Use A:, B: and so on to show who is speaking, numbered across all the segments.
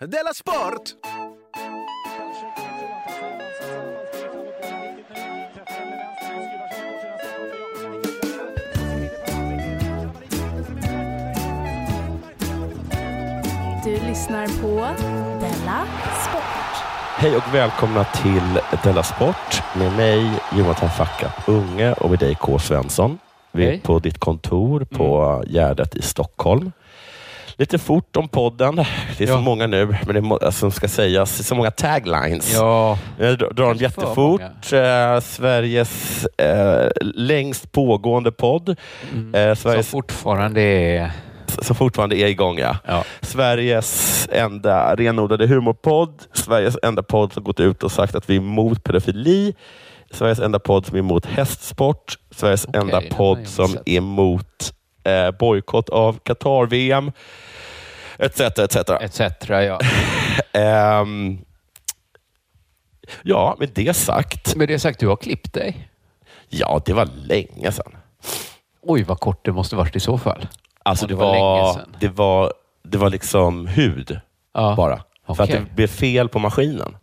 A: Della Sport!
B: Du lyssnar på Della Sport.
C: Hej och välkomna till Della Sport med mig Jonathan Fackat Unge och med dig K Svensson. Vi är
D: Hej. Mm.
C: på ditt kontor på Gärdet i Stockholm. Lite fort om podden. Det är så
D: Ja.
C: många nu, men det är må- alltså, som ska sägas. Det är så många taglines.
D: Ja,
C: Jag dr- drar dem
D: Kanske för
C: jättefort. Eh, Sveriges eh, längst pågående podd. Eh,
D: Mm. som
C: Sveriges,
D: fortfarande är...
C: som fortfarande är igång. Ja.
D: Ja.
C: Sveriges enda renodlade humorpodd. Sveriges enda podd som gått ut och sagt att vi är emot pedofili. Sveriges enda podd som är emot hästsport. Sveriges
D: Okej,
C: enda
D: den har jag
C: podd
D: inte
C: som
D: sett.
C: är emot eh, bojkott av Qatar-VM. Etc, etc.
D: Etc. Ja.
C: Ehm, ja, med det sagt.
D: Med det sagt, du har klippt dig.
C: Ja, det var länge sedan.
D: Oj, vad kort det måste varit i så fall.
C: Alltså
D: Ja,
C: det,
D: det
C: var,
D: var länge
C: var
D: sedan.
C: det var Det var liksom hud
D: Ja.
C: bara. För att
D: Okej.
C: det blev fel på maskinen.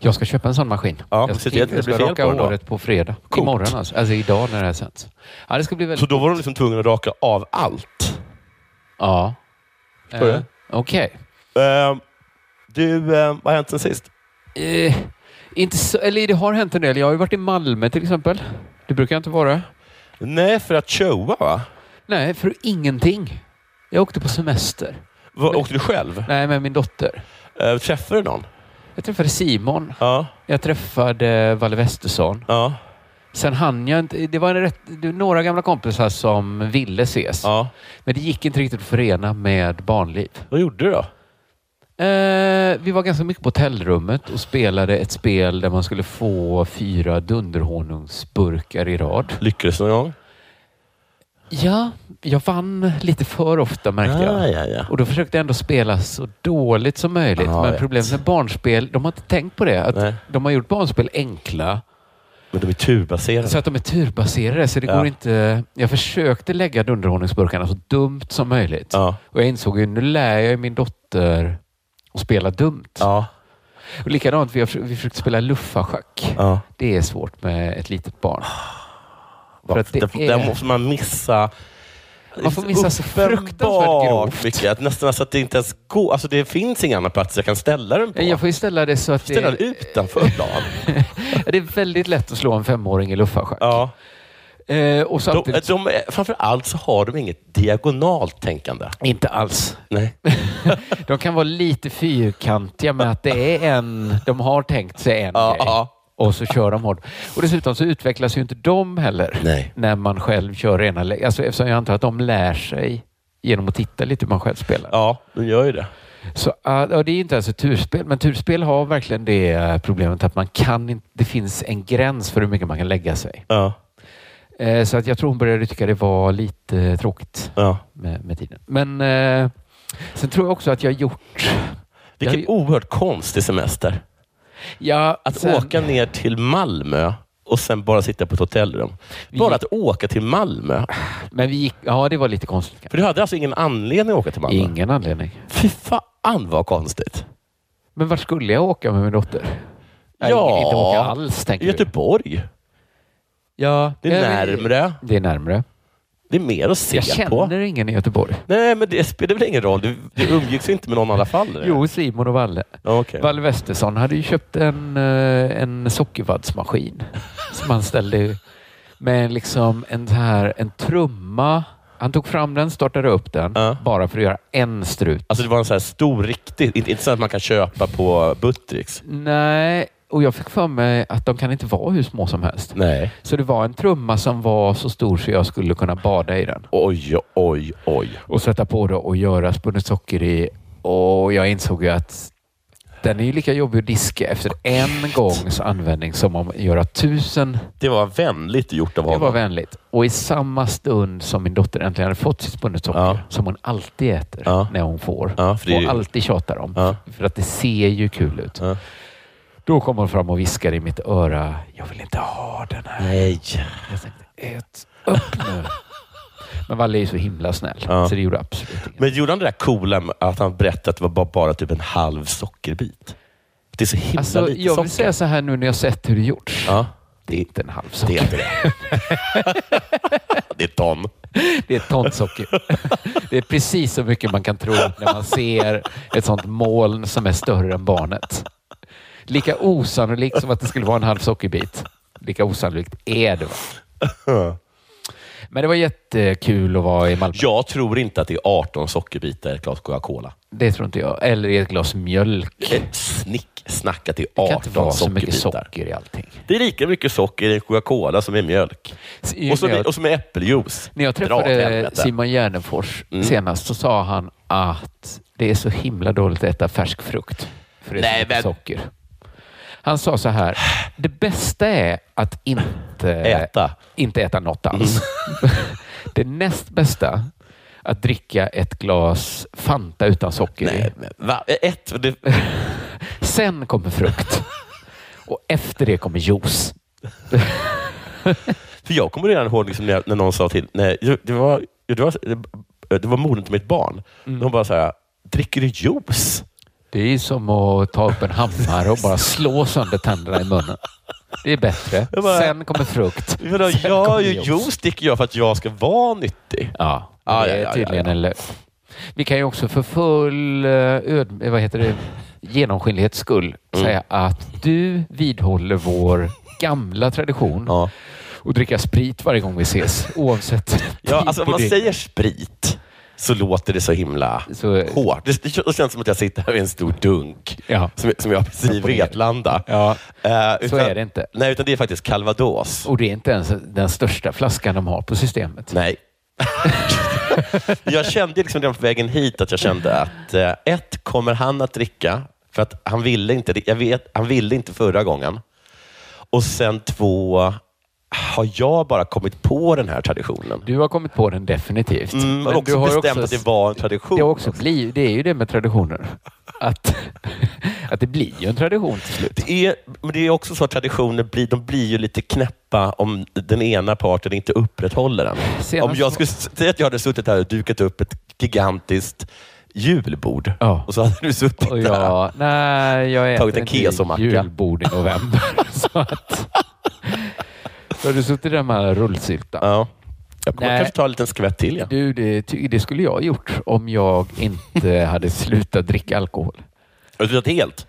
D: Jag ska köpa en sån maskin.
C: Ja,
D: jag
C: så
D: ska,
C: det- det
D: jag ska
C: blir fel
D: raka
C: på den då.
D: håret på fredag.
C: Coolt.
D: Imorgon alltså. Alltså idag när det här sänds. Ja, det ska bli
C: Så
D: väldigt...
C: då var de liksom tvungna att raka av allt.
D: Ja.
C: Förstår du?
D: Eh, Okej.
C: Ehm, du, ehm, vad har hänt sen sist?
D: Eh, inte så... Eller det har hänt en del. Jag har ju varit i Malmö till exempel. Det brukar jag inte vara.
C: Nej, för att showa va?
D: Nej, för ingenting. Jag åkte på semester.
C: Var,
D: Men-
C: åkte du själv?
D: Nej, med min dotter.
C: Ehm, träffade du någon?
D: Jag träffade Simon.
C: Ja.
D: Jag träffade Valle Westesson.
C: Ja.
D: Sen hann jag inte. Det var en rätt, det var några gamla kompisar som ville ses.
C: ja.
D: Men det gick inte riktigt att förena med barnliv.
C: Vad gjorde du då?
D: Eh, vi var ganska mycket på hotellrummet och spelade ett spel där man skulle få fyra dunderhonungsburkar i rad.
C: Lyckades du någon gång?
D: Ja, jag vann lite för ofta märkte jag.
C: Ah, ja, ja.
D: Och då försökte jag ändå spela så dåligt som möjligt.
C: Ah, Ja, jag
D: Men
C: vet.
D: problemet med barnspel, de har inte tänkt på det. Att
C: Nej.
D: de har gjort barnspel enkla
C: Men de är turbaserade.
D: Så att de är turbaserade, så det
C: Ja.
D: går inte... Jag försökte lägga dunderhonungsburkarna så dumt som möjligt.
C: Ja.
D: Och jag insåg ju, nu lär jag ju min dotter att spela dumt.
C: Ja.
D: Och likadant, vi, har, vi försökte spela luffarschack.
C: ja.
D: Det är svårt med ett litet barn. För att det
C: Där,
D: är-
C: där måste man missa
D: Man får missa så fruktansvärt
C: uppenbart
D: grovt.
C: mycket. Att nästan så att det inte ens går. Alltså det finns inga andra platser jag kan ställa den på.
D: Jag får ju ställa det så att det,
C: ställa den utanför plan.
D: det är väldigt lätt att slå en femåring i luffarschack.
C: Ja.
D: Eh, och
C: De,
D: samtidigt...
C: de, är- framför allt så har de inget diagonalt tänkande.
D: inte alls.
C: Nej.
D: De kan vara lite fyrkantiga med att det är en... De har tänkt sig en
C: Ja,
D: grej.
C: ja.
D: Och så kör de hårt. Och dessutom så utvecklas ju inte de heller
C: Nej.
D: när man själv kör rena... lä- Alltså eftersom jag antar att de lär sig genom att titta lite hur man själv spelar.
C: Ja, de gör ju det.
D: Så, ah, ja, det är ju inte ens ett turspel, men turspel har verkligen det eh, problemet att man kan inte... Det finns en gräns för hur mycket man kan lägga sig.
C: Ja,
D: Eh, så att jag tror hon började tycka det var lite eh, tråkigt
C: ja.
D: med, med tiden. Men eh, sen tror jag också att jag gjort...
C: Vilken
D: Jag-
C: oerhört konstig semester.
D: Ja,
C: Att
D: sen-
C: åka ner till Malmö och sen bara sitta på ett hotellrum. Bara att åka till Malmö.
D: Men vi gick... Ja, det var lite konstigt.
C: För du hade alltså ingen anledning att åka till Malmö?
D: Ingen anledning.
C: Fy fan vad konstigt.
D: Men vart skulle jag åka med min dotter? Jag
C: Ja.
D: vill inte åka alls, tänker du.
C: Göteborg.
D: Ja,
C: Det är
D: jag vill-
C: närmre.
D: Det är närmre.
C: Det är mer att se
D: Jag
C: på.
D: känner ingen i Göteborg.
C: Nej, men det spelar väl ingen roll. Du, du umgicks ju inte med någon i alla fall? eller?
D: Jo, Simon och Valle.
C: Ja, okej.
D: Valle Westesson hade ju köpt en, eh, en sockervaddsmaskin som han ställde med liksom en, så här, en trumma. Han tog fram den, startade upp den,
C: Ja.
D: bara för att göra en strut.
C: Alltså det var en så här stor, riktig. Inte, inte så att man kan köpa på Buttricks.
D: Nej, och jag fick för mig att de kan inte vara hur små som helst.
C: Nej.
D: Så det var en trumma som var så stor så jag skulle kunna bada i den
C: Oj, oj, oj.
D: och sätta på det och göra spunnet socker i. Och jag insåg ju att den är ju lika jobbig att diska efter en gångs användning som om att göra tusen.
C: Det var vänligt gjort av
D: Det
C: honom.
D: var vänligt. Och i samma stund som min dotter äntligen hade fått sitt spunnet socker,
C: Ja.
D: som hon alltid äter
C: Ja.
D: när hon får
C: Ja, för det är ju-
D: och alltid tjatar om,
C: Ja.
D: för att det ser ju kul ut.
C: Ja.
D: Då kom hon fram och viskade i mitt öra. Jag vill inte ha den här.
C: Nej.
D: Jag tänkte, ät upp nu. Men Valle är ju så himla snäll,
C: Ja.
D: så det gjorde absolut inget.
C: Men gjorde han det där coola med att han berättade att det var bara, bara typ en halv sockerbit? Det är så himla
D: Alltså,
C: lite
D: jag
C: socker.
D: vill säga så här nu när jag sett hur det gjorts.
C: Ja,
D: Det är inte en halv
C: det
D: socker.
C: är inte det. det är ton.
D: Det är ett ton socker. Det är precis så mycket man kan tro när man ser ett sånt moln som är större än barnet. Lika osannolikt som att det skulle vara en halv sockerbit, lika osannolikt är det. Va? Men det var jättekul att vara i Malmö.
C: Jag tror inte att det är 18 sockerbitar i ett glas Coca-Cola.
D: Det tror inte jag. Eller i ett glas mjölk.
C: Eh, Snick, snack att det
D: Det
C: är
D: kan inte
C: 18
D: vara så mycket
C: sockerbitar.
D: socker i allting.
C: Det är lika mycket socker i en Coca-Cola som i mjölk.
D: I-
C: Och som,
D: när,
C: i-
D: jag,
C: och som i äppeljuice.
D: när jag
C: Dra åt
D: träffade
C: helvete. Mm.
D: Simon Gärdenfors senast så sa han att det är så himla dåligt att äta färsk frukt. För det är så
C: Nej,
D: mycket
C: men-
D: socker. Han sa så här. Det bästa är att inte
C: Äta. Mm.
D: inte äta något alls. det näst bästa att dricka ett glas Fanta utan socker i.
C: Nej, men va? Ett, det,
D: Sen kommer frukt. Och efter det kommer juice.
C: För jag kommer redan ihåg liksom när, jag, när någon sa till, nej, det var, det var, det var modern till mitt barn.
D: Mm.
C: Hon bara så här, dricker du juice?
D: Det är som att ta upp en hammare och bara slå sönder tänderna i munnen. Det är bättre.
C: Jag bara-
D: Sen kommer frukt.
C: Jag, menar,
D: Sen
C: jag
D: kommer
C: ju juice dricker jag för att jag ska vara nyttig.
D: Ja,
C: Ah,
D: det
C: ja,
D: är
C: ja, ja,
D: tydligen
C: ja.
D: en lögn. Vi kan ju också för full eh, öd, eh, vad heter det? genomskinlighets skull
C: Mm.
D: säga att du vidhåller vår gamla tradition
C: Ja.
D: och dricka sprit varje gång vi ses oavsett typ
C: Ja,
D: tid
C: alltså,
D: på
C: om man
D: dygnet.
C: säger sprit så låter det så himla
D: Så-
C: hårt. Det, det känns som att jag sitter här med en stor dunk
D: Ja.
C: som, som jag precis i
D: på ner.
C: Vetlanda.
D: Ja,
C: Eh,
D: så är det inte.
C: Nej, utan det är faktiskt calvados.
D: Och det är inte ens den största flaskan de har på systemet.
C: Nej. jag kände liksom redan på vägen hit att jag kände att eh, ett, kommer han att dricka? För att han ville inte, jag vet, han ville inte förra gången. Och sen två, har jag bara kommit på den här traditionen?
D: Du har kommit på den definitivt.
C: Mm, och
D: du
C: också bestämt att det var en tradition.
D: Det, har också blivit, det är ju det med traditioner. Att, att det blir ju en tradition till slut.
C: Det är, men det är också så att traditioner blir, de blir ju lite knäppa om den ena parten inte upprätthåller den.
D: Senast
C: om jag
D: så-
C: skulle s- säga att jag hade suttit här och dukat upp ett gigantiskt julbord
D: Ja.
C: och så hade du suttit
D: Och
C: där.
D: jag, nej, jag äter
C: Tagit en
D: inte
C: kesomacka.
D: julbord i november. så att, så har du suttit där med alla rullsylta.
C: Ja. Jag kommer
D: Nej.
C: kanske ta en liten skvätt till. Ja.
D: Du, det, ty- det skulle jag ha gjort om jag inte hade slutat dricka alkohol.
C: Har du tittat helt?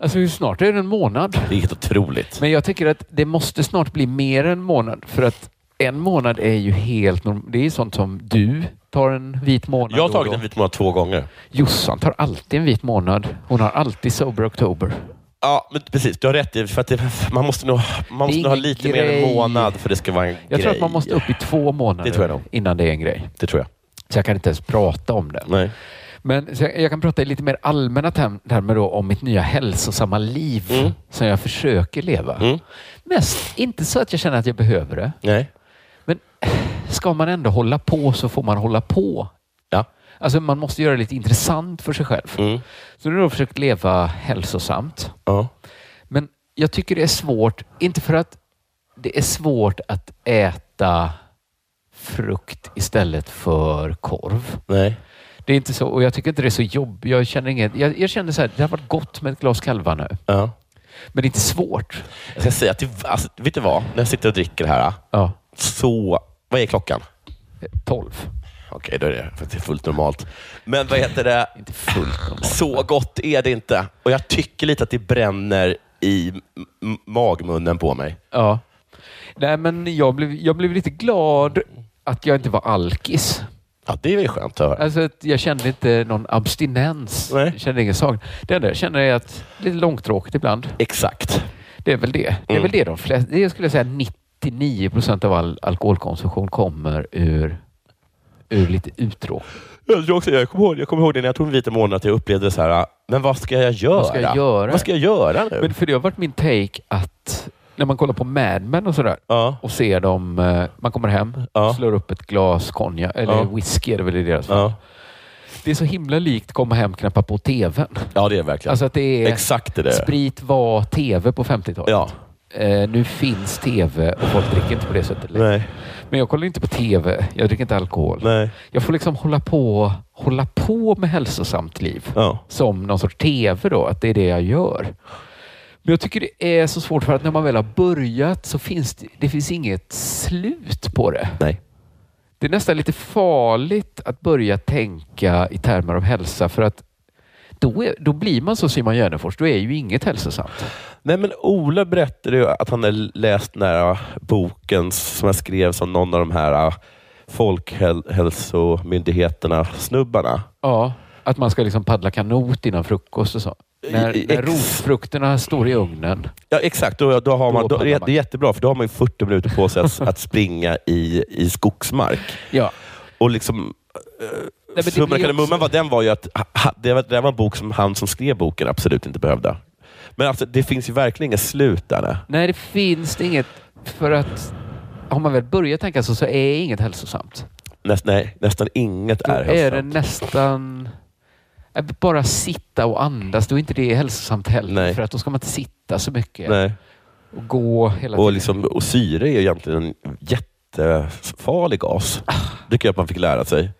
D: Alltså hur snart är det en månad?
C: Det är helt otroligt.
D: Men jag tycker att det måste snart bli mer än en månad för att en månad är ju helt norm- Det är sånt som du tar en vit månad.
C: jag har
D: då och
C: tagit
D: då.
C: en vit månad två gånger.
D: Jossan tar alltid en vit månad. Hon har alltid sober oktober.
C: Ja, men precis. Du har rätt. i, För att det, man måste nog, man måste nog ha
D: ingen
C: lite mer än en
D: grej.
C: månad för det ska vara en
D: Jag
C: grej.
D: tror att man måste upp i två månader
C: Det tror jag nog.
D: innan det är en grej.
C: Det tror jag.
D: Så jag kan inte ens prata om det.
C: Nej.
D: Men så jag, jag kan prata i lite mer allmänna term- termer då om mitt nya hälsosamma liv som jag försöker leva.
C: Mm.
D: Mest inte så att jag känner att jag behöver det.
C: Nej.
D: Men ska man ändå hålla på så får man hålla på.
C: Ja.
D: Alltså man måste göra det lite intressant för sig själv.
C: Mm.
D: Så nu har jag försökt leva hälsosamt.
C: Ja.
D: Men jag tycker det är svårt, inte för att det är svårt att äta frukt istället för korv.
C: Nej.
D: Det är inte så, och jag tycker inte det är så jobbigt. Jag känner inget, jag, jag känner så här, det har varit gott med ett glas kalva nu.
C: Ja.
D: Men det är inte svårt.
C: Jag ska säga att det, alltså, vet du vad? När jag sitter och dricker här,
D: Ja.
C: så... Vad är klockan?
D: 12.
C: Okej, då är det faktiskt fullt normalt. Men vad heter det?
D: Inte fullt normalt.
C: Så gott är det inte. Och jag tycker lite att det bränner i m- m- magmunnen på mig.
D: Ja. Nej, men jag blev, jag blev lite glad att jag inte var alkis.
C: Ja, det är ju skönt att höra.
D: Alltså att jag kände inte någon abstinens.
C: Nej.
D: Jag kände ingen sak. Det enda jag känner är att det är lite långtråkigt ibland.
C: Exakt.
D: Det är väl det. Det är
C: Mm.
D: väl det de flesta... Det skulle jag säga 99 procent av all alkoholkonsumtion kommer ur, ur lite uttråk.
C: Jag, tror också, jag, kommer ihåg, jag kommer ihåg det när jag tog en vit månad, att jag upplevde så här, men vad ska jag göra?
D: Vad ska jag göra?
C: Vad ska jag göra nu?
D: Men för det har varit min take att när man kollar på Mad Men och sådär
C: ja.
D: och ser dem... eh, Man kommer hem,
C: Ja.
D: slår upp ett glas konjak, eller
C: Ja.
D: whisky är det väl i deras fall.
C: Ja.
D: Det är så himla likt komma hem, knäppa på tvn.
C: ja, det är verkligen.
D: Alltså att det är...
C: Exakt det där.
D: Sprit var tv på 50-talet.
C: Ja.
D: Eh, nu finns tv och folk dricker inte på det sättet längre.
C: Nej,
D: Men jag kollar inte på tv. Jag dricker inte alkohol.
C: nej.
D: Jag får liksom hålla på, hålla på med hälsosamt liv.
C: Ja.
D: Som någon sorts tv då, att det är det jag gör. Men jag tycker det är så svårt för att när man väl har börjat så finns det, det finns inget slut på det.
C: Nej.
D: Det är nästan lite farligt att börja tänka i termer av hälsa för att då, är, då blir man så Simon Gärdenfors. Då är ju inget hälsosamt.
C: Nej, men Ola berättade ju att han hade läst den här boken som jag skrev som någon av de här äh, folkhälsomyndigheterna, snubbarna.
D: Ja, att man ska liksom paddla kanot innan frukost och så. När,
C: I-
D: när
C: ex-
D: rotfrukterna står i ugnen.
C: Ja, exakt. Då, då har man,
D: Då
C: då,
D: paddlar
C: det är-
D: man.
C: det är jättebra, för då har man ju 40 minuter på sig att, att springa i, i skogsmark.
D: Ja.
C: Och liksom,
D: men det
C: Summan
D: blir
C: och kardemumman
D: också-
C: var, den var ju att ha- ha- det var, det var en bok som han som skrev boken absolut inte behövde. Men alltså, det finns ju verkligen inget slut där. nej.
D: Nej, det finns det inget. För att har man väl börjat tänka så, så är inget hälsosamt.
C: Näst, nej, nästan inget
D: Då
C: är
D: är det
C: hälsosamt.
D: nästan... Äh, Bara sitta och andas, då är inte det hälsosamt heller.
C: Nej.
D: För att då ska man inte sitta så mycket
C: Nej.
D: och gå hela
C: Och,
D: tiden.
C: liksom, och syre är ju egentligen en jättefarlig gas. Det tycker jag att man fick lära sig.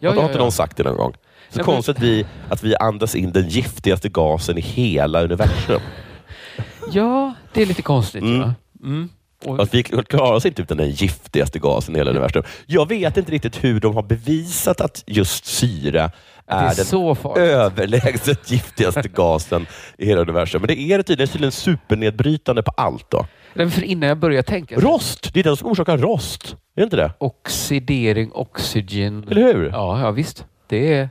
D: Ja,
C: har
D: ja,
C: inte
D: ja.
C: någon sagt det någon gång? Så
D: Nej, men-
C: konstigt att, vi, att vi andas in den giftigaste gasen i hela universum.
D: ja, det är lite konstigt.
C: Mm.
D: Ja. Mm. Och,
C: Att vi klarar oss inte utan den giftigaste gasen i hela universum. Jag vet inte riktigt hur de har bevisat att just syre
D: det
C: är
D: är
C: den
D: så farligt.
C: överlägset giftigaste gasen i hela universum. Men det är det tydligen. Det är tydligen supernedbrytande på allt. då.
D: Nej, För innan jag börjar tänka...
C: Rost! Det är den som orsakar rost. Är det inte det?
D: Oxidering, oxygen.
C: Eller hur?
D: Ja, ja visst. Det är,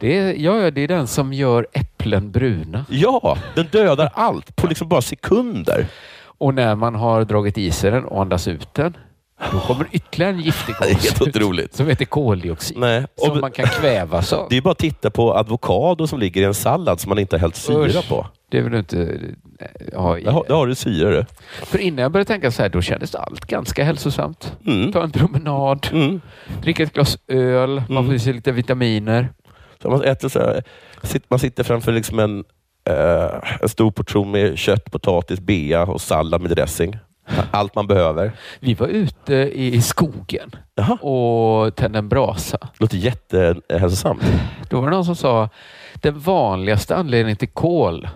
D: det, är, ja, ja, det är den som gör äpplen bruna.
C: Ja, den dödar allt på liksom bara sekunder.
D: Och när man har dragit i sig den och andas ut den, då kommer ytterligare en giftig
C: Det är
D: gas
C: helt
D: ut
C: otroligt.
D: som heter koldioxid.
C: Nej.
D: Som
C: Och-
D: man kan kvävas av.
C: Det är bara att titta på avokado som ligger i en sallad som man inte har hällt syra
D: Usch.
C: på.
D: Det vill du inte eh, ha i
C: Där har, där har du syra du.
D: För innan jag började tänka så här, då kändes allt ganska hälsosamt.
C: Mm.
D: Ta en promenad,
C: Mm.
D: dricka ett glas öl, man får i sig lite vitaminer.
C: Så man, äter så här, sitt- man sitter framför liksom en, eh, en stor portion med kött, potatis, bea och sallad med dressing. Allt man behöver.
D: Vi var ute i skogen
C: Jaha.
D: och tände en brasa.
C: Låter jättehälsosamt.
D: Då var det någon som sa den vanligaste anledningen till kol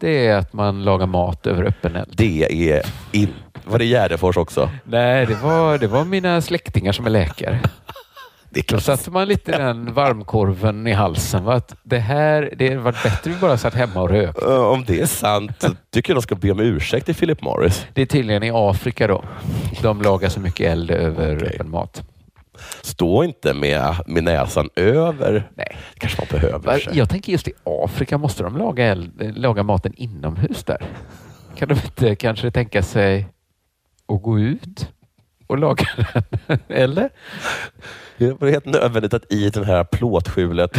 D: det är att man lagar mat över öppen eld.
C: Det är in... Var det Gärdefors också?
D: Nej, det var, det var mina släktingar som är läkare.
C: Det är
D: Då
C: klart.
D: satte man lite den varmkorven i halsen. Va? Att det här, det hade varit bättre om vi bara satt hemma och rök.
C: Eh, Om det är sant, så tycker jag de ska be om ursäkt till Philip Morris.
D: Det är tydligen i Afrika då. De lagar så mycket eld över öppen mat.
C: Stå inte med, med näsan över.
D: Nej.
C: Det kanske man behöver.
D: Va?
C: i och för sig.
D: Jag tänker just i Afrika, måste de laga, eld, eh, laga maten inomhus där? Kan de inte kanske tänka sig att gå ut och laga den? Eller?
C: Det var helt nödvändigt att i det här plåtskjulet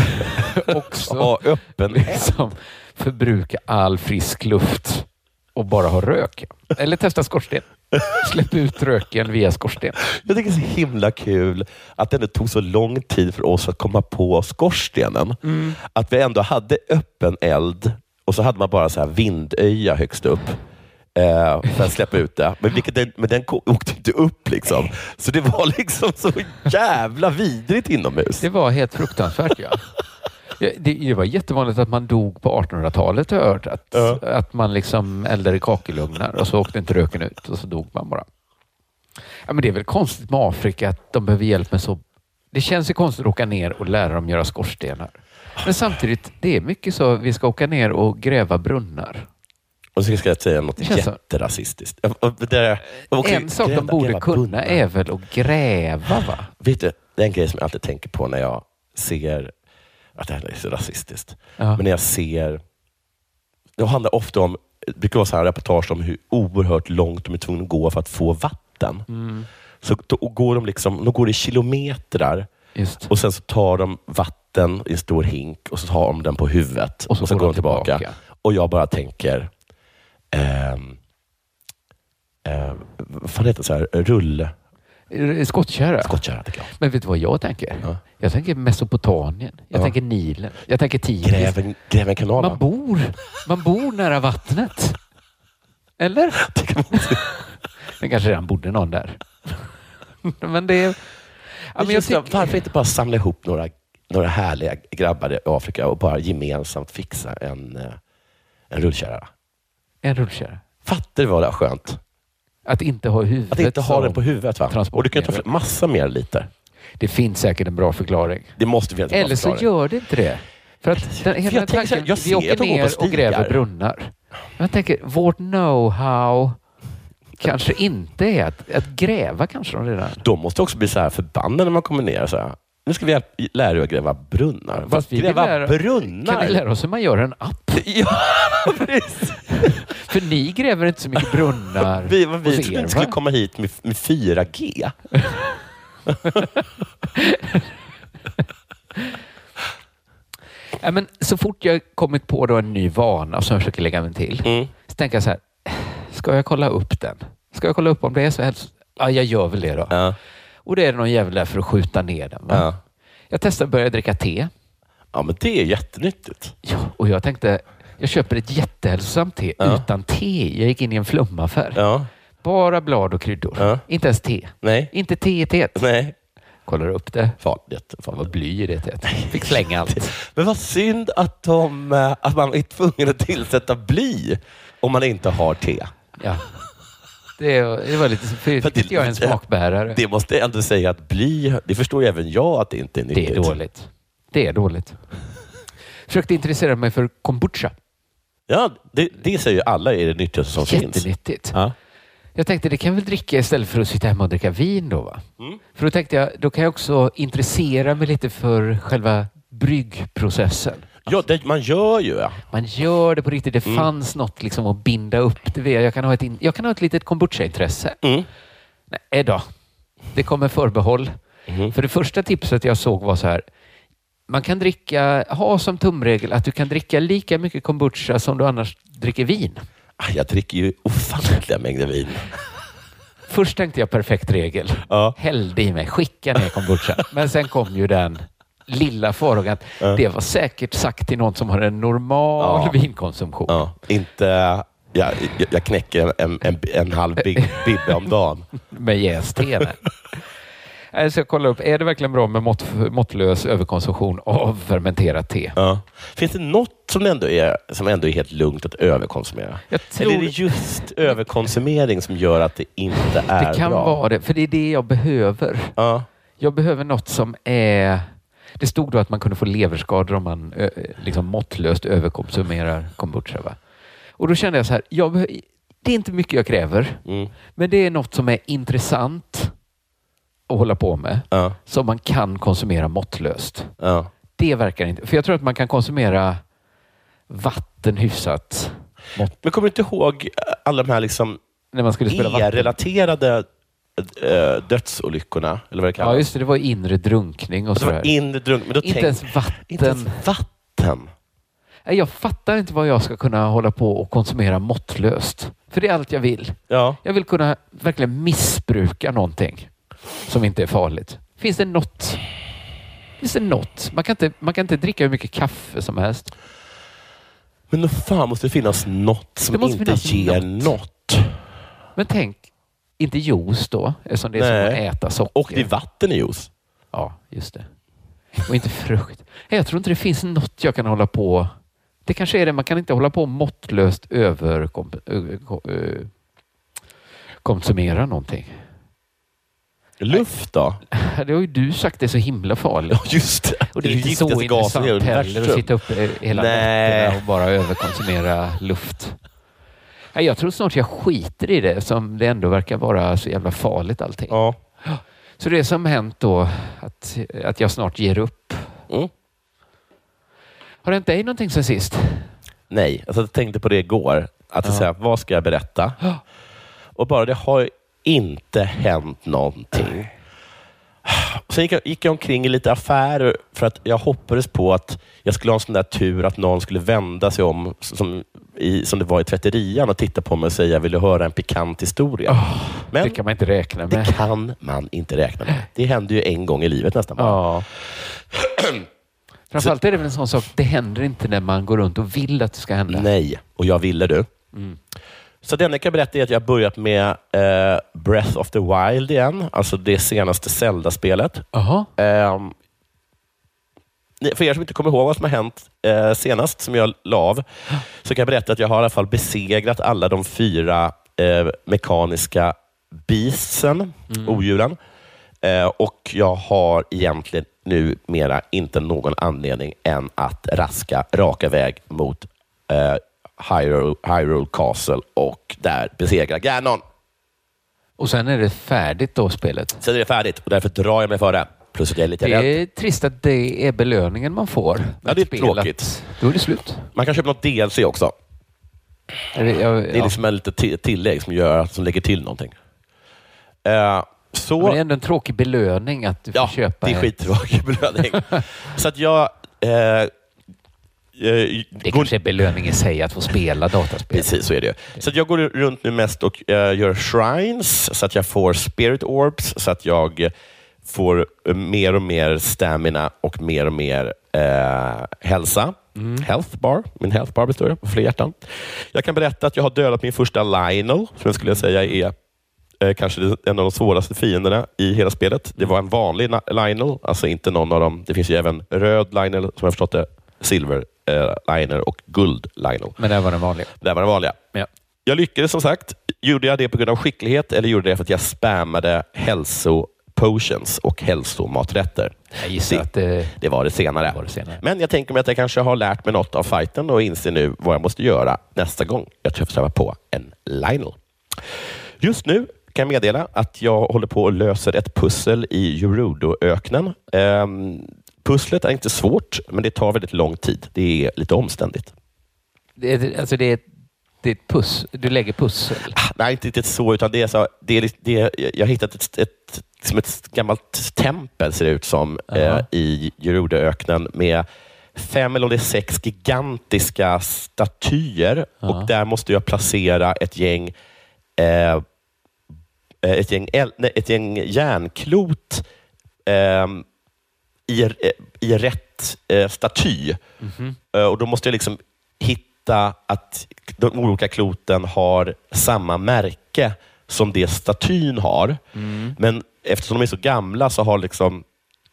D: Också
C: ha öppen
D: liksom förbruka all frisk luft och bara ha rök. Eller testa skorsten. Släpp ut röken via skorsten.
C: Jag tycker det är så himla kul att det ändå tog så lång tid för oss att komma på skorstenen.
D: Mm.
C: Att vi ändå hade öppen eld och så hade man bara så här vindöja högst upp eh, för att släppa ut det. Men, vilket den, men den ko- åkte inte upp. liksom. Så det var liksom så jävla vidrigt inomhus.
D: Det var helt fruktansvärt. Ja. Ja, Det, det var jättevanligt att man dog på 1800-talet har jag hört. Att,
C: Ja.
D: att man liksom eldade i kakelugnar och så åkte inte röken ut och så dog man bara. Ja, men det är väl konstigt med Afrika att de behöver hjälp med så... Det känns ju konstigt att åka ner och lära dem göra skorstenar. Men samtidigt, det är mycket så vi ska åka ner och gräva brunnar.
C: Och så ska jag säga något
D: Det känns så.
C: jätterasistiskt. Jag- och Det, jag åker
D: en sak
C: gräva-
D: de borde
C: gräva
D: kunna
C: brunnar.
D: är väl att gräva, va?
C: Vet du, det är en grej som jag alltid tänker på när jag ser att det här är så rasistiskt.
D: Ja.
C: Men när jag ser... Det handlar ofta om, det brukar vara så här reportage om hur oerhört långt de är tvungna att gå för att få vatten.
D: Mm.
C: Så då går de liksom, de går i kilometrar
D: Just.
C: och sen så tar de vatten i en stor hink och så tar de den på huvudet och så, går de tillbaka. Och jag bara tänker, ehm, eh, vad fan heter det? Så här, rull...
D: Eh, Skottkärra.
C: Skottkärra tycker jag.
D: Men vet du vad jag tänker?
C: Ja.
D: Jag tänker Mesopotamien. Jag
C: Ja.
D: tänker Nilen. Jag tänker Tigris.
C: Gräv en, gräv en kanal. va?
D: Man bor, man bor nära vattnet. Eller? Det kanske redan bodde någon där. Men det är... Ja, men jag
C: Just det,
D: tycker,
C: Varför inte bara samla ihop några, några härliga grabbar i Afrika och bara gemensamt fixa en, eh, en rullkärra?
D: en rullkärra.
C: Fattar du vad det är skönt?
D: Att inte ha huvudet.
C: Att inte ha
D: som-
C: den på huvudet. Va?
D: transportmedel.
C: Och du kan ta fl- massa mer liter.
D: Det finns säkert en bra förklaring.
C: Det måste finnas en bra
D: Eller så
C: förklaring.
D: gör det inte det. För att den, hela
C: jag tänker så
D: tanken,
C: här, jag
D: vi
C: ser att
D: åker
C: de går på
D: ner och gräver
C: stigar.
D: brunnar. Jag tänker, vårt know-how kanske inte är att, att gräva kanske de redan.
C: De måste också bli så här förbannade när man kommer ner. Så här. Nu ska vi hjälp- lära er att gräva brunnar.
D: Fast vi vill
C: gräva
D: lära-
C: brunnar?
D: Kan vi lära oss hur man gör en app?
C: ja, precis.
D: För ni gräver inte så mycket brunnar
C: Vi, vad vi
D: hos
C: trodde
D: er,
C: inte skulle
D: va?
C: komma hit med, med 4G.
D: Ja, men så fort jag kommit på då en ny vana som jag försöker lägga mig till,
C: Mm.
D: så tänker jag så här, ska jag kolla upp den? Ska jag kolla upp om det är så helst? Ja, jag gör väl det då.
C: Ja.
D: Och det är någon jävel där för att skjuta ner den. Va?
C: Ja.
D: Jag testade att börja dricka te.
C: ja, men det är jättenyttigt.
D: Ja, och jag tänkte, jag köper ett jättehälsosamt te
C: Ja.
D: utan te. Jag gick in i en flumaffär.
C: Ja.
D: Bara blad och kryddor.
C: Ja.
D: Inte ens te.
C: Nej.
D: Inte te i teet.
C: Nej.
D: Kollar upp det.
C: Farligt.
D: Fan vad bly i det teet. Fick slänga allt.
C: Men vad synd att, de, eh, att man är tvungen att tillsätta bly om man inte har te.
D: Ja. Det, det var lite... För,
C: För det-
D: tyckte jag är en smakbärare. Det,
C: Det måste jag ändå säga att bly, det förstår ju även jag att det inte är nyttigt.
D: är dåligt. Det är dåligt. Försökte intressera mig för kombucha.
C: Ja, det, det säger ju alla är det nyttigaste som finns.
D: Jättenyttigt.
C: Ja.
D: Jag tänkte det kan jag väl dricka istället för att sitta hemma och dricka vin då va? För då tänkte jag, då kan jag också intressera mig lite för själva bryggprocessen.
C: Ja, det, man gör ju. ja.
D: Man gör det på riktigt. Det fanns något liksom att binda upp det vid. Jag kan ha ett, in, jag kan ha ett litet kombucha-intresse.
C: Mm.
D: Nej eh, då. Det kommer förbehåll. För det första tipset jag såg var så här. Man kan dricka, ha som tumregel att du kan dricka lika mycket kombucha som du annars dricker vin.
C: Ah, Jag dricker ju ofantliga mängder vin.
D: Först tänkte jag perfekt regel.
C: Ja.
D: Hällde i mig, skicka ner kombucha. Men sen kom ju den lilla farhågan att det var säkert sagt till någon som har en normal
C: Ja.
D: vinkonsumtion.
C: Ja. Inte, jag, jag- jag knäcker en, en, en, en halv big, bibbe om dagen.
D: med jäst te. nej. Nej, Så jag kollar upp, är det verkligen bra med mått, måttlös överkonsumtion av fermenterat te?
C: Ja. Finns det något som ändå, är, som ändå är helt lugnt att överkonsumera?
D: Jag tror-
C: Eller är det just överkonsumering som gör att det inte är
D: Det kan
C: bra?
D: vara det, för det är det jag behöver.
C: Ja.
D: Jag behöver något som är... Det stod då att man kunde få leverskador om man ö, liksom måttlöst överkonsumerar kombucha. Va? Och då kände jag så här, jag behö- det är inte mycket jag kräver,
C: Mm.
D: men det är något som är intressant att hålla på med,
C: Ja.
D: som man kan konsumera måttlöst.
C: Ja.
D: Det verkar inte... För jag tror att man kan konsumera vatten hyfsat mått,
C: Men kommer du inte ihåg alla de här liksom
D: när man skulle spela vatten.
C: E-relaterade eh, dödsolyckorna? Eller vad det kallas?
D: Ja, just det. Det var inre drunkning och
C: Alltså, det
D: sådär.
C: var inre drunk, men då
D: Inte
C: tänk-
D: ens vatten.
C: inte ens vatten.
D: Nej, Jag fattar inte vad jag ska kunna hålla på och konsumera måttlöst. För det är allt jag vill.
C: Ja.
D: Jag vill kunna verkligen missbruka någonting som inte är farligt. Finns det något? Finns det något? Man kan inte, man kan inte dricka hur mycket kaffe som helst.
C: Men nog fan måste det finnas något som
D: Det måste
C: inte
D: finnas
C: ger
D: något.
C: något.
D: Men tänk, inte juice då, eftersom det är som
C: Nej.
D: att äta socker.
C: Och det är vatten i juice.
D: Ja, just det. Och inte frukt. Nej, Jag tror inte det finns något jag kan hålla på. Det kanske är det. Man kan inte hålla på och måttlöst överkonsumera någonting. Äh,
C: Luft då?
D: Det har ju du sagt det är så himla farligt.
C: Ja, just det.
D: Och det är inte
C: giftigaste
D: så
C: gasen i
D: intressant
C: hela
D: heller att
C: universum.
D: sitta uppe eh, hela
C: Nej.
D: nätterna och bara överkonsumera luft. Nej, Jag tror snart jag skiter i det som det ändå verkar vara så jävla farligt allting.
C: Ja.
D: Så det som hänt då, att, att jag snart ger upp.
C: Mm.
D: Har det hänt dig någonting sen sist?
C: Nej, alltså, jag tänkte på det igår. Att säga, vad ska jag berätta? Och bara det har ju inte hänt någonting. Sen gick jag, gick jag omkring i lite affärer för att jag hoppades på att jag skulle ha en sån där tur att någon skulle vända sig om, som, i, som det var i tvätterian, och titta på mig och säga, vill du höra en pikant historia? Men
D: Det kan man inte räkna med.
C: det kan man inte räkna med. Det händer ju en gång i livet nästan. bara.
D: Ja. Framförallt är det väl en sån sak, det händer inte när man går runt och vill att det ska hända.
C: Nej, och jag ville du. Så det enda jag kan berätta är att jag har börjat med eh, Breath of the Wild igen, alltså det senaste Zelda-spelet.
D: Jaha.
C: Ehm, ni- för er som inte kommer ihåg vad som har hänt eh, senast, som jag la av, så kan jag berätta att jag har i alla fall besegrat alla de fyra eh, mekaniska beastsen,
D: Mm.
C: odjuren. Eh, och jag har egentligen numera inte någon anledning än att raska raka väg mot eh, Hyrule, Hyrule Castle och där besegra Ganon.
D: Och sen är det färdigt då, spelet.
C: Sen är det färdigt och därför drar jag mig före. Plus att jag är lite
D: Det
C: rädd.
D: är trist att det är belöningen man får. med
C: Ja, det är
D: ett spel,
C: tråkigt.
D: att Då är det slut.
C: Man kan köpa något DLC också.
D: Är det, jag,
C: Det är
D: ja.
C: liksom en lite ti- tillägg som, gör, som lägger till någonting. Eh, så,
D: Men det är ändå en tråkig belöning att du
C: ja,
D: får köpa
C: det är
D: ett-
C: skittråkig belöning. så att jag... Eh, eh,
D: Det
C: går-
D: kanske är belöning i sig att få spela dataspel.
C: Precis, så är det ju. Så att jag går runt nu mest och eh, gör shrines, så att jag får spirit orbs, så att jag eh, får eh, mer och mer stamina och mer och mer eh, hälsa. Health bar. Min health bar består av fler hjärtan. Jag kan berätta att jag har dödat min första Lionel, som jag skulle säga är eh, kanske en av de svåraste fienderna i hela spelet. Det var en vanlig na- Lionel, alltså inte någon av dem. Det finns ju även röd Lionel, som jag förstått det, silver eh, Lionel och guld Lionel.
D: Men det här var den vanliga.
C: Där var den vanliga.
D: Ja.
C: Jag lyckades som sagt. Gjorde jag det på grund av skicklighet eller gjorde jag det för att jag spammade hälsopotions och hälsomaträtter?
D: Jag gissar
C: Det-
D: att eh, det...
C: Det var det senare.
D: Det var det senare.
C: Men jag tänker mig att jag kanske har lärt mig något av fighten och inser nu vad jag måste göra nästa gång jag träffar på en Lionel. Just nu kan jag meddela att jag håller på och löser ett pussel i Gerudo-öknen. Ehm, pusslet är inte svårt, men det tar väldigt lång tid. Det är lite omständigt.
D: det är- alltså det är, det är ett puss. Du lägger pussel.
C: Ah, Nej, inte riktigt så. Utan det är så det är, liksom- det är, jag har hittat ett, ett, liksom ett gammalt tempel, ser det ut som, eh,
D: Jaha.
C: i Gerudoöknen med fem eller om det är sex gigantiska statyer. Och Där måste jag placera ett gäng, eh, ett gäng, el- nej, ett gäng järnklot ehm, i, eh, i rätt eh, staty. Eh, Och Då måste jag liksom hitta att de olika kloten har samma märke som det statyn har. Men eftersom de är så gamla så har liksom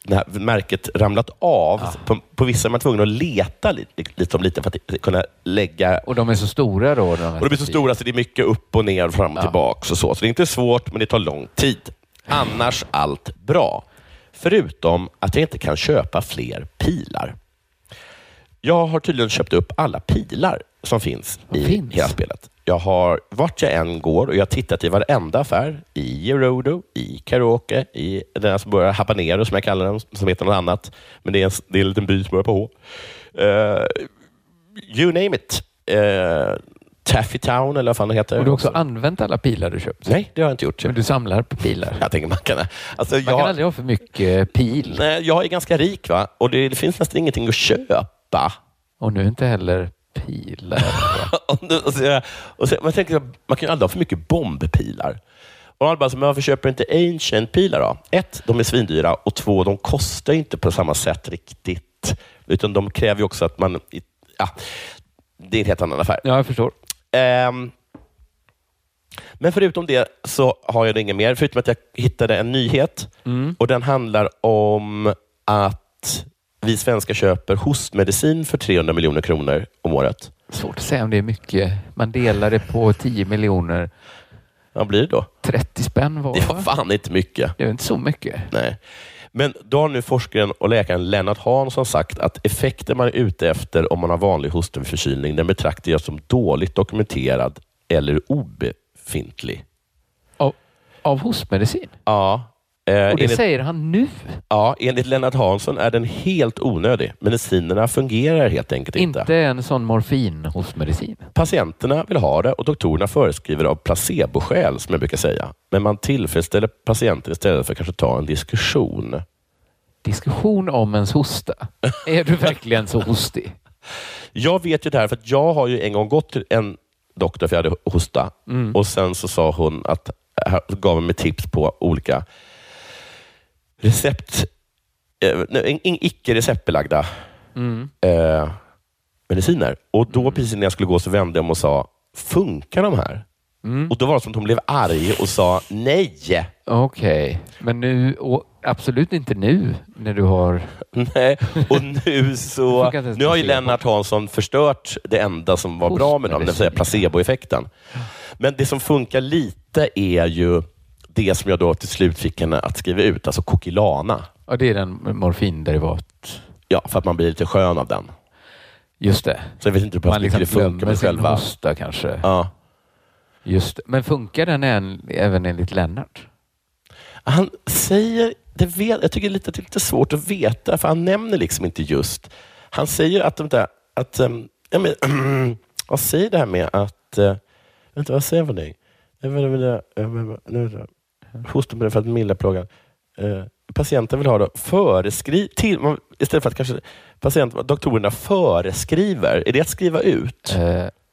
C: det här märket ramlat av. På, på vissa är man tvungen att leta lite, lite om lite för att kunna lägga
D: Och de är så stora då? De här
C: och de blir så stora så det är mycket upp och ner, fram och
D: Ja.
C: tillbaka. Och så. så det är inte svårt, men det tar lång tid. Annars allt bra. Förutom att jag inte kan köpa fler pilar. Jag har tydligen köpt upp alla pilar som finns i
D: finns?
C: hela spelet. Jag har, vart jag än går, och jag har tittat i varenda affär, i Gerudo, i Karaoke, i den här som börjar Habanero, som jag kallar den, som heter något annat. Men det är en, det är en liten by som börjar på H. Eh, you name it. Eh, Taffy Town eller vad fan det heter.
D: Har du också använt alla pilar du köpt?
C: Nej, det har jag inte gjort.
D: Men du samlar på pilar? Man
C: Typ. Jag tänker man kan... Alltså, jag,
D: kan aldrig ha för mycket pil.
C: nej, jag är ganska rik va? och det, det finns nästan ingenting att köpa.
D: Och nu inte heller pilar.
C: och nu- och så, jag- och så, man, tänker, så här, man kan ju aldrig ha för mycket bombpilar. Och man bara, så, men varför köper du inte Ancient-pilar då? Ett, de är svindyra och två, de kostar ju inte på samma sätt riktigt. Utan de kräver ju också att man... i- Ja, det är en helt annan affär.
D: Ja, jag förstår.
C: Ehm, men förutom det så har jag det inget mer, förutom att jag hittade en nyhet.
D: Mm.
C: Och Den handlar om att vi svenskar köper hostmedicin för 300 miljoner kronor om året.
D: Svårt att säga om det är mycket. Man delar det på 10 miljoner
C: Vad blir det då?
D: 30 spänn var
C: Det
D: det
C: var
D: va?
C: fan inte mycket.
D: Det är inte så mycket.
C: Nej. Men då har nu forskaren och läkaren Lennart Hansson sagt att effekten man är ute efter om man har vanlig hostenförkylning, den betraktar jag som dåligt dokumenterad eller obefintlig.
D: Av, av hostmedicin?
C: Ja. Eh,
D: Och det
C: enligt,
D: säger han nu?
C: ja, enligt Lennart Hansson är den helt onödig. Medicinerna fungerar helt enkelt inte.
D: Inte en sån morfinhostmedicin?
C: Patienterna vill ha det och doktorerna föreskriver av placeboskäl, som jag brukar säga. Men man tillfredsställer patienten istället för att kanske ta en diskussion.
D: Diskussion om ens hosta. Är du verkligen så hostig?
C: Jag vet ju det här, för att jag har ju en gång gått till en doktor för jag hade hosta. Och Sen så sa hon att, här gav hon mig tips på olika recept, eh, nej, in- icke receptbelagda eh, mediciner. Och då precis när jag skulle gå så vände jag mig och sa, funkar de här? Och Då var det som att hon blev arg och sa nej.
D: Okej, men nu... Och absolut inte nu när du har...
C: Nej, och nu så...
D: Funkar inte ens
C: Nu har ju
D: placebo.
C: Lennart Hansson förstört det enda som var bra med dem, det vill säga placeboeffekten. Men det som funkar lite är ju det som jag då till slut fick henne att skriva ut, alltså kokilana.
D: Ja, det är den morfinderivat.
C: Ja, för att man blir lite skön av den.
D: Just det.
C: Så jag vet inte hur pass
D: Man
C: mycket
D: liksom
C: det funkar
D: glömmer
C: med
D: sin
C: själva...
D: hosta kanske.
C: Ja.
D: Just det. Men funkar den än, även enligt Lennart?
C: Han säger, det vet, jag tycker lite, det är lite svårt att veta, för han nämner liksom inte just. Han säger att, de där, att ehm, ja, men, vad säger det här med att, eh, vänta, vad säger han för någonting? Jag vill- jag vill- jag vill- nu är det- Hostmedel för att mildra plågan. Eh, Patienten vill ha det föreskri- till, man- istället för att kanske patienten, doktorerna föreskriver. Är det att skriva ut?
D: Eh,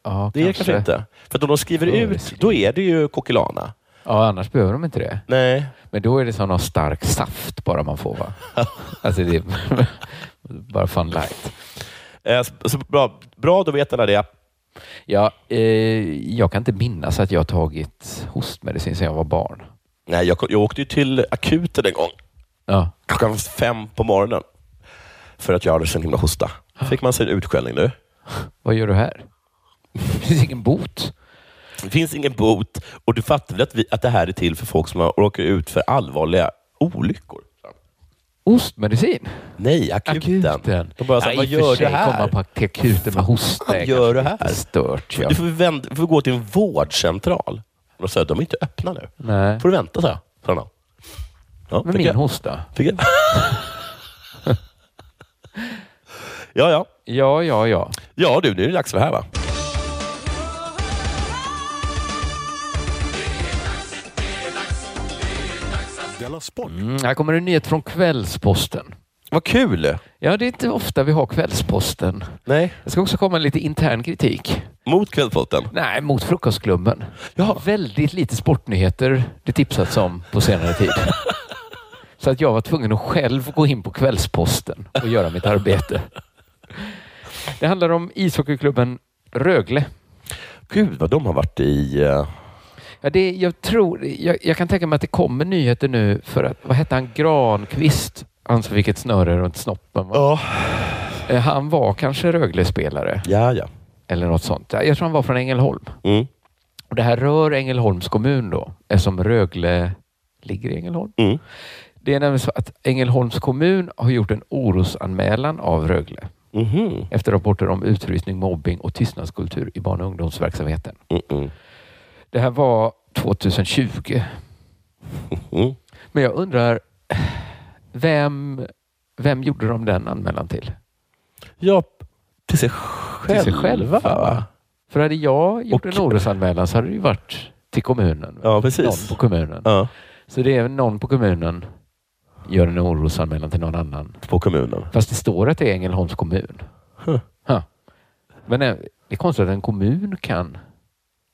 D: ja,
C: det är det kanske inte. För att om de skriver ut,
D: Föreskriver.
C: då är det ju kokilana.
D: Ja, annars behöver de inte det.
C: Nej.
D: Men då är det som någon stark saft bara man får va? alltså det är bara fun light.
C: Eh, så- Så bra, bra, då vet alla det.
D: Ja, eh, jag kan inte minnas att jag har tagit hostmedicin sedan jag var barn.
C: Nej, jag, jag åkte ju till akuten en gång,
D: Ja.
C: klockan fem på morgonen, för att jag hade sån himla hosta. fick man sig en utskällning nu.
D: Vad gör du här? Det finns ingen bot.
C: Det finns ingen bot och du fattar väl att, vi, att det här är till för folk som har råkar ut för allvarliga olyckor?
D: Ostmedicin?
C: Nej, akuten. De bara, så här,
D: Ja,
C: vad
D: i och för
C: gör du
D: sig,
C: här?
D: Komma på akuten med hosta är
C: gör
D: kanske
C: du här?
D: lite Stört, ja.
C: Du får, vända, du får gå till en vårdcentral. Och de sa, de är inte öppna nu.
D: Nej.
C: får du vänta, sa jag. sa de. Ja,
D: Men
C: fick
D: min
C: jag-
D: hosta?
C: fick jag. ja, ja.
D: Ja, ja, ja.
C: Ja du, nu är det dags för det här va?
D: Mm, här kommer en nyhet från Kvällsposten.
C: Vad kul!
D: Ja, det är inte ofta vi har Kvällsposten.
C: Nej.
D: Det ska också komma lite intern kritik.
C: Mot Kvällspotten?
D: Nej, mot Frukostklubben.
C: Ja.
D: Väldigt lite sportnyheter det tipsats om på senare tid. Så att jag var tvungen att själv gå in på Kvällsposten och göra mitt arbete. Det handlar om ishockeyklubben Rögle.
C: Gud vad de har varit i... eh,
D: Ja, det, jag, tror, jag, jag kan tänka mig att det kommer nyheter nu för att, vad hette han, Granqvist? Han som fick ett snöre runt snoppen. va?
C: Ja.
D: Eh, Han var kanske Rögle-spelare
C: Ja, ja.
D: eller något sånt. Jag tror han var från Ängelholm.
C: Mm.
D: Och det här rör Ängelholms kommun då, eftersom Rögle ligger i Ängelholm.
C: Mm.
D: Det är nämligen så att Ängelholms kommun har gjort en orosanmälan av Rögle
C: Mhm.
D: efter rapporter om utrustning, mobbing och tystnadskultur i barn och ungdomsverksamheten.
C: Mm, mm.
D: Det här var 2020.
C: Mm.
D: Men jag undrar, vem, vem gjorde de den anmälan till?
C: Ja, till sig själva.
D: Till sig själva, va? För hade jag gjort
C: Och-
D: en orosanmälan så hade det ju varit till kommunen.
C: Ja,
D: Någon
C: precis.
D: på kommunen.
C: Ja,
D: Så det är någon på kommunen gör en orosanmälan till någon annan.
C: på kommunen.
D: Fast det står att det är Ängelholms kommun.
C: Huh.
D: Huh. Men eh, det är konstigt att en kommun kan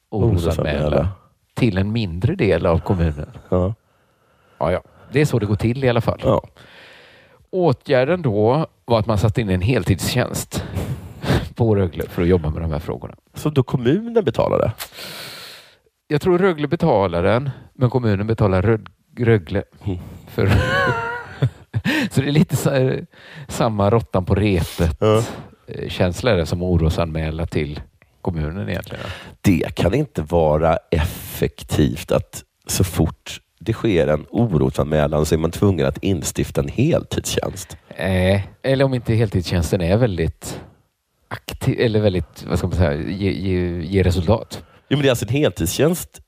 C: Orosanmäla.
D: orosanmäla till en mindre del av kommunen.
C: Ja.
D: Ja, ja. Det är så det går till i alla fall.
C: Ja.
D: Åtgärden då var att man satte in en heltidstjänst på Rögle för att jobba med de här frågorna.
C: Så då kommunen betalade?
D: Jag tror Rögle betalar den, men kommunen betalar Röd- Rögle.
C: Mm.
D: För så det är lite så här, samma råttan på repet
C: Ja.
D: eh, känsla är det som orosanmäla till kommunen egentligen.
C: Det kan inte vara effektivt att så fort det sker en orosanmälan så är man tvungen att instifta en heltidstjänst.
D: Eh, eller om inte heltidstjänsten är väldigt aktiv, eller väldigt, vad ska man säga, ge, ge, ge resultat.
C: Jo, men det är alltså en heltidstjänst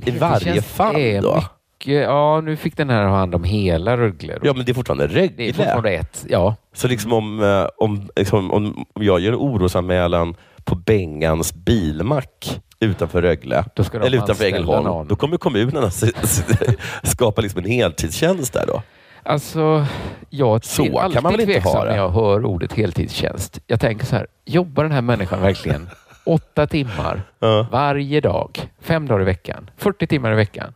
C: i varje
D: Heltidstjänst
C: fall
D: är
C: då?
D: mycket- Ja, nu fick den här ha hand om hela Rögle.
C: Ja, men det är fortfarande
D: det är
C: Rögle.
D: fortfarande ett. Ja,
C: Så liksom om, eh, om, liksom om om jag gör orosanmälan på Bengans bilmack utanför Rögle,
D: Då ska de
C: eller utanför
D: anställa
C: Ängelholm,
D: någon.
C: då kommer kommunen att s- s- skapa liksom en heltidstjänst där då.
D: Alltså, jag
C: Så
D: blir
C: kan
D: alltid
C: man väl inte
D: tveksam
C: ha det?
D: när jag hör ordet heltidstjänst. Jag tänker så här, jobbar den här människan verkligen åtta timmar varje dag, fem dagar i veckan, 40 timmar i veckan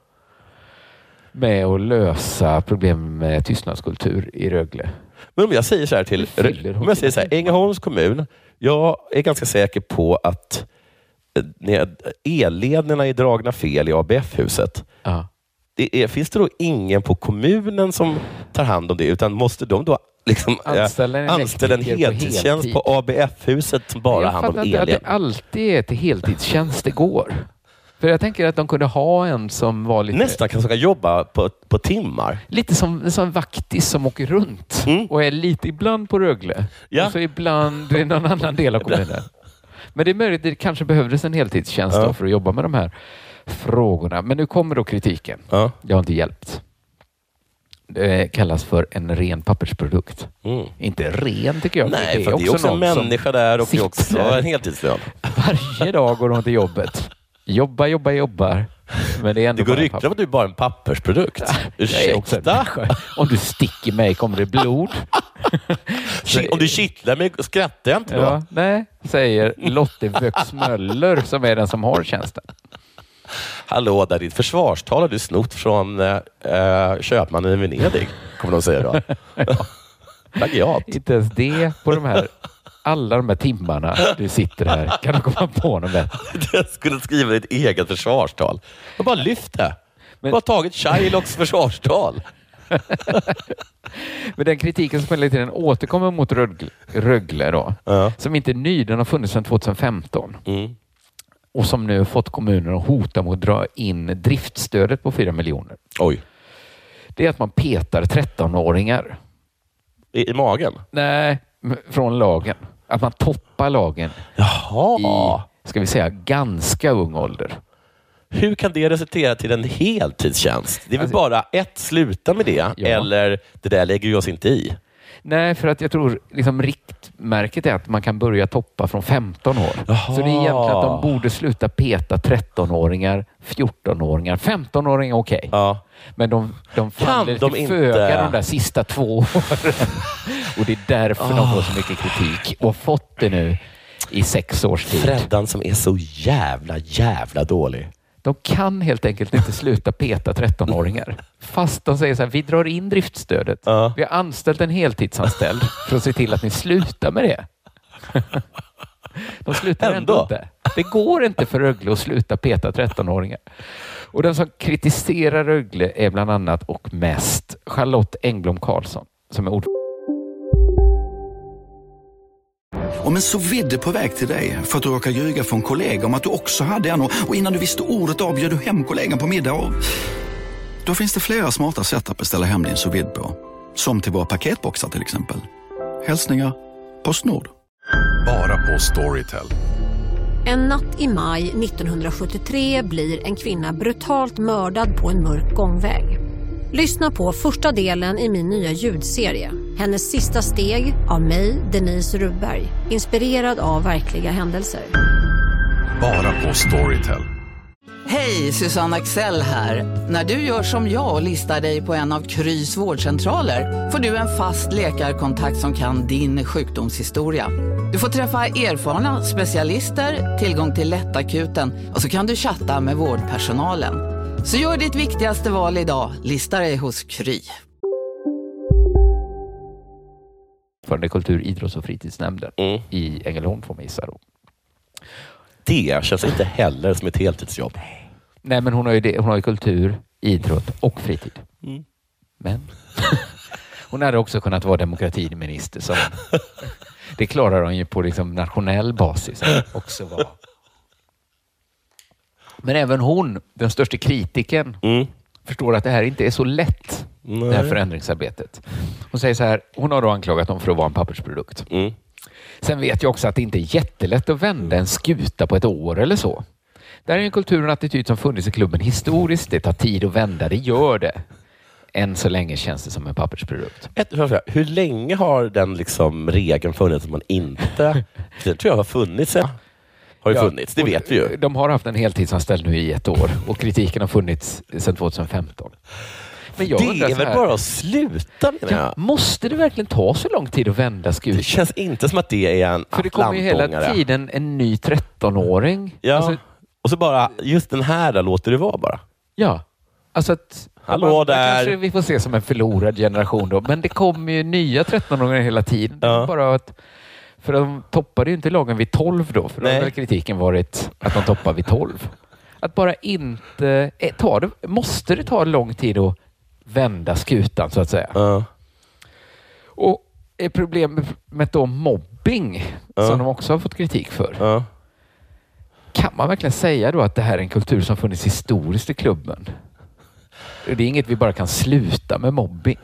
D: med att lösa problem med tystnadskultur i Rögle?
C: Men om jag säger så här till
D: Hur fyller hon
C: om jag säger så här,
D: sin tid?
C: Ängelholms kommun, jag är ganska säker på att eh, när elledningarna är dragna fel i ABF-huset.
D: Ja.
C: Det är, finns det då ingen på kommunen som tar hand om det, utan måste de då liksom, eh,
D: Anställa en
C: anställa en
D: elektriker på
C: heltidstjänst
D: heltid?
C: på, ABF-huset som bara
D: jag
C: har hand om
D: fattar inte att det
C: elledningar?
D: alltid är till heltidstjänst det går. För jag tänker att de kunde ha en som var lite...
C: Nästan kanske ska jobba på, på timmar.
D: Lite som, som en vaktis som åker runt
C: Mm.
D: och är lite ibland på Rögle
C: Ja.
D: och så ibland i någon annan del av kommunen. Men det är möjligt, det kanske behövdes en heltidstjänst
C: Ja.
D: då för att jobba med de här frågorna. Men nu kommer då kritiken.
C: Ja.
D: Det har inte hjälpt. Det kallas för en ren pappersprodukt.
C: Mm.
D: Inte ren tycker jag.
C: Nej, för det är också en
D: någon som
C: människa där och det är också
D: sitter.
C: en heltidslön.
D: Varje dag går hon till jobbet. Jobbar, jobbar, jobbar. Men det är
C: Det
D: ändå
C: går
D: bara en
C: rykten om att du är bara en pappersprodukt.
D: Jag är också en
C: Ursäkta?
D: människa. Om du sticker mig kommer det blod.
C: Ki- Om du kittlar mig skrattar jag inte
D: Ja,
C: då.
D: nej, säger Lotte Wöxmöller som är den som har tjänsten.
C: Hallå där, ditt försvarstal har du snott från eh, eh, köpmannen i Venedig, kommer de säga då. Plagiat.
D: Inte ens det på de här, alla de här timmarna du sitter här kan du komma på något bättre.
C: Jag skulle skriva ditt eget försvarstal. Jag bara lyft det.
D: Men-
C: Bara tagit Shylocks försvarstal.
D: Men den kritiken som hela tiden återkommer mot Rögle, Rögle då,
C: Ja.
D: som inte är ny, den har funnits sedan 2015
C: Mm.
D: och som nu har fått kommunen att hota med att dra in driftstödet på 4 miljoner.
C: Oj.
D: Det är att man petar 13-åringar.
C: I, I magen?
D: Nej, m- från lagen. Att man toppar lagen
C: Jaha.
D: i, ska vi säga, ganska ung ålder.
C: Hur kan det resultera till en heltidstjänst? Det är väl
D: Alltså-
C: bara ett, sluta med det,
D: Ja.
C: eller det där lägger vi oss inte i.
D: Nej, för att jag tror liksom riktmärket är att man kan börja toppa från 15 år.
C: Jaha.
D: Så det är egentligen att de borde sluta peta 13-åringar, 14-åringar. 15-åringar okej,
C: Ja.
D: men de, de faller
C: Kan de
D: till
C: inte?
D: föga de där sista två åren. och det är därför de får så mycket kritik och har fått det nu i sex års tid.
C: Freddan som är så jävla, jävla dålig.
D: De kan helt enkelt inte sluta peta 13-åringar. Fast de säger så här, vi drar in driftstödet.
C: Ja.
D: Vi har anställt en heltidsanställd för att se till att ni slutar med det. De slutar ändå,
C: Ändå.
D: inte. Det går inte för Rögle att sluta peta 13-åringar. Och den som kritiserar Rögle är bland annat och mest Charlotte Engblom Karlsson som är ordförande
A: Om en så vidde på väg till dig för att du råkar ljuga från kollega om att du också hade en och och innan du visste ordet av bjöd du hem kollegan på middag och... Då finns det flera smarta sätt att beställa hem din sous vide på. Som till våra paketboxar till exempel. Hälsningar Postnord.
E: Bara på Storytel.
F: En natt i maj 1973 blir en kvinna brutalt mördad på en mörk gångväg. Lyssna på första delen i min nya ljudserie. Hennes sista steg av mig, Denise Rubberg. Inspirerad av verkliga händelser.
E: Bara på Storytel.
G: Hej, Susanne Axel här. När du gör som jag och listar dig på en av Krys vårdcentraler får du en fast läkarkontakt som kan din sjukdomshistoria. Du får träffa erfarna specialister, tillgång till lättakuten och så kan du chatta med vårdpersonalen. Så gör ditt viktigaste val idag, listar dig hos Kry.
D: kultur, idrotts och fritidsnämnden
C: Mm.
D: i Ängelholm får man gissa. Då.
C: Det känns inte heller som ett heltidsjobb.
D: Nej, men hon har ju, det, hon har ju kultur, idrott och fritid. Men hon hade också kunnat vara demokratiminister. Så det klarar hon ju på liksom nationell basis. att Också vara Men även hon, den största kritiken,
C: Mm.
D: förstår att det här inte är så lätt, det här
C: Nej.
D: förändringsarbetet. Hon säger så här, hon har då anklagat dem för att vara en pappersprodukt.
C: Mm.
D: Sen vet jag också att det inte är jättelätt att vända en skuta på ett år eller så. Det här är en kultur och en attityd som funnits i klubben historiskt. Det tar tid att vända, det gör det. Än så länge känns det som en pappersprodukt.
C: Ett, hur ska jag säga, hur länge har den liksom regeln funnits att man inte... Det tror jag har funnits. ett- Har ju
D: Ja,
C: funnits, det
D: och
C: vet vi ju.
D: De har haft en heltidsanställd nu i ett år och kritiken har funnits sedan 2015. Men jag
C: Det
D: undrar
C: är
D: så
C: väl
D: här-
C: bara att sluta menar jag.
D: Måste det verkligen ta så lång tid att vända skutan?
C: Det känns inte som att det är en
D: För det kommer ju hela
C: atlantångare.
D: tiden en ny Alltså, 13-åring.
C: Ja. och så bara, just den här där låter det vara bara.
D: Ja. Alltså att,
C: Hallå
D: man, det
C: där.
D: kanske vi får se som en förlorad generation då. Men det kommer ju nya 13-åringar hela tiden. Det är Bara att, för de toppade ju inte lagen vid 12 då. För då
C: Nej.
D: har väl kritiken varit att de toppar vid 12. Att bara inte... eh, Ta det, måste det ta lång tid att vända skutan så att säga? Och är problemet då mobbing, som de också har fått kritik för? Kan man verkligen säga då att det här är en kultur som funnits historiskt i klubben? Det är inget vi bara kan sluta med mobbing.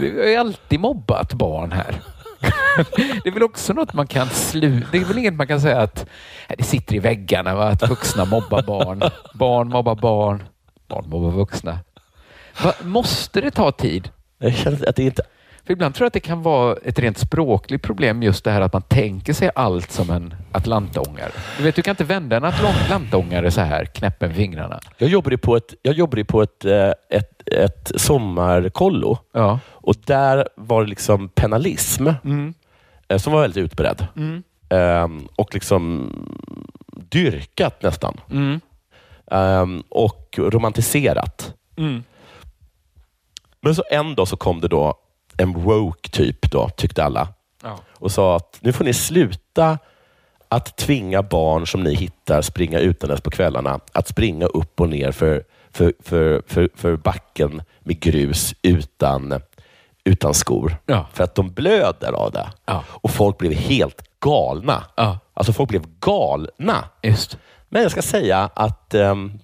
D: Vi har alltid mobbat barn här. Det är väl också något man kan sluta... Det är väl inget man kan säga att "Nej, det sitter i väggarna va? att vuxna mobbar barn. Barn mobbar barn. Barn mobbar vuxna. Va? Måste det ta tid?
C: Jag känner att det inte...
D: För ibland tror jag att det kan vara ett rent språkligt problem just det här att man tänker sig allt som en atlantångare. Du vet, du kan inte vända en atlant- atlantångare så här, knäppa med fingrarna.
C: Jag jobbade ju på ett, jag jobbade ju på ett, eh, ett, ett sommarkollo.
D: Ja.
C: Och där var det liksom penalism eh, som var väldigt utbredd. Ehm, och liksom dyrkat nästan. Ehm, och romantiserat. Men så en dag så kom det då en woke typ, då, tyckte alla.
D: Ja.
C: Och sa att nu får ni sluta att tvinga barn som ni hittar springa utomlands på kvällarna att springa upp och ner för, för, för, för, för backen med grus utan, utan skor.
D: Ja.
C: För att de blöder av det.
D: Ja.
C: Och folk blev helt galna.
D: Ja.
C: Alltså folk blev galna.
D: Just.
C: Men jag ska säga att ehm,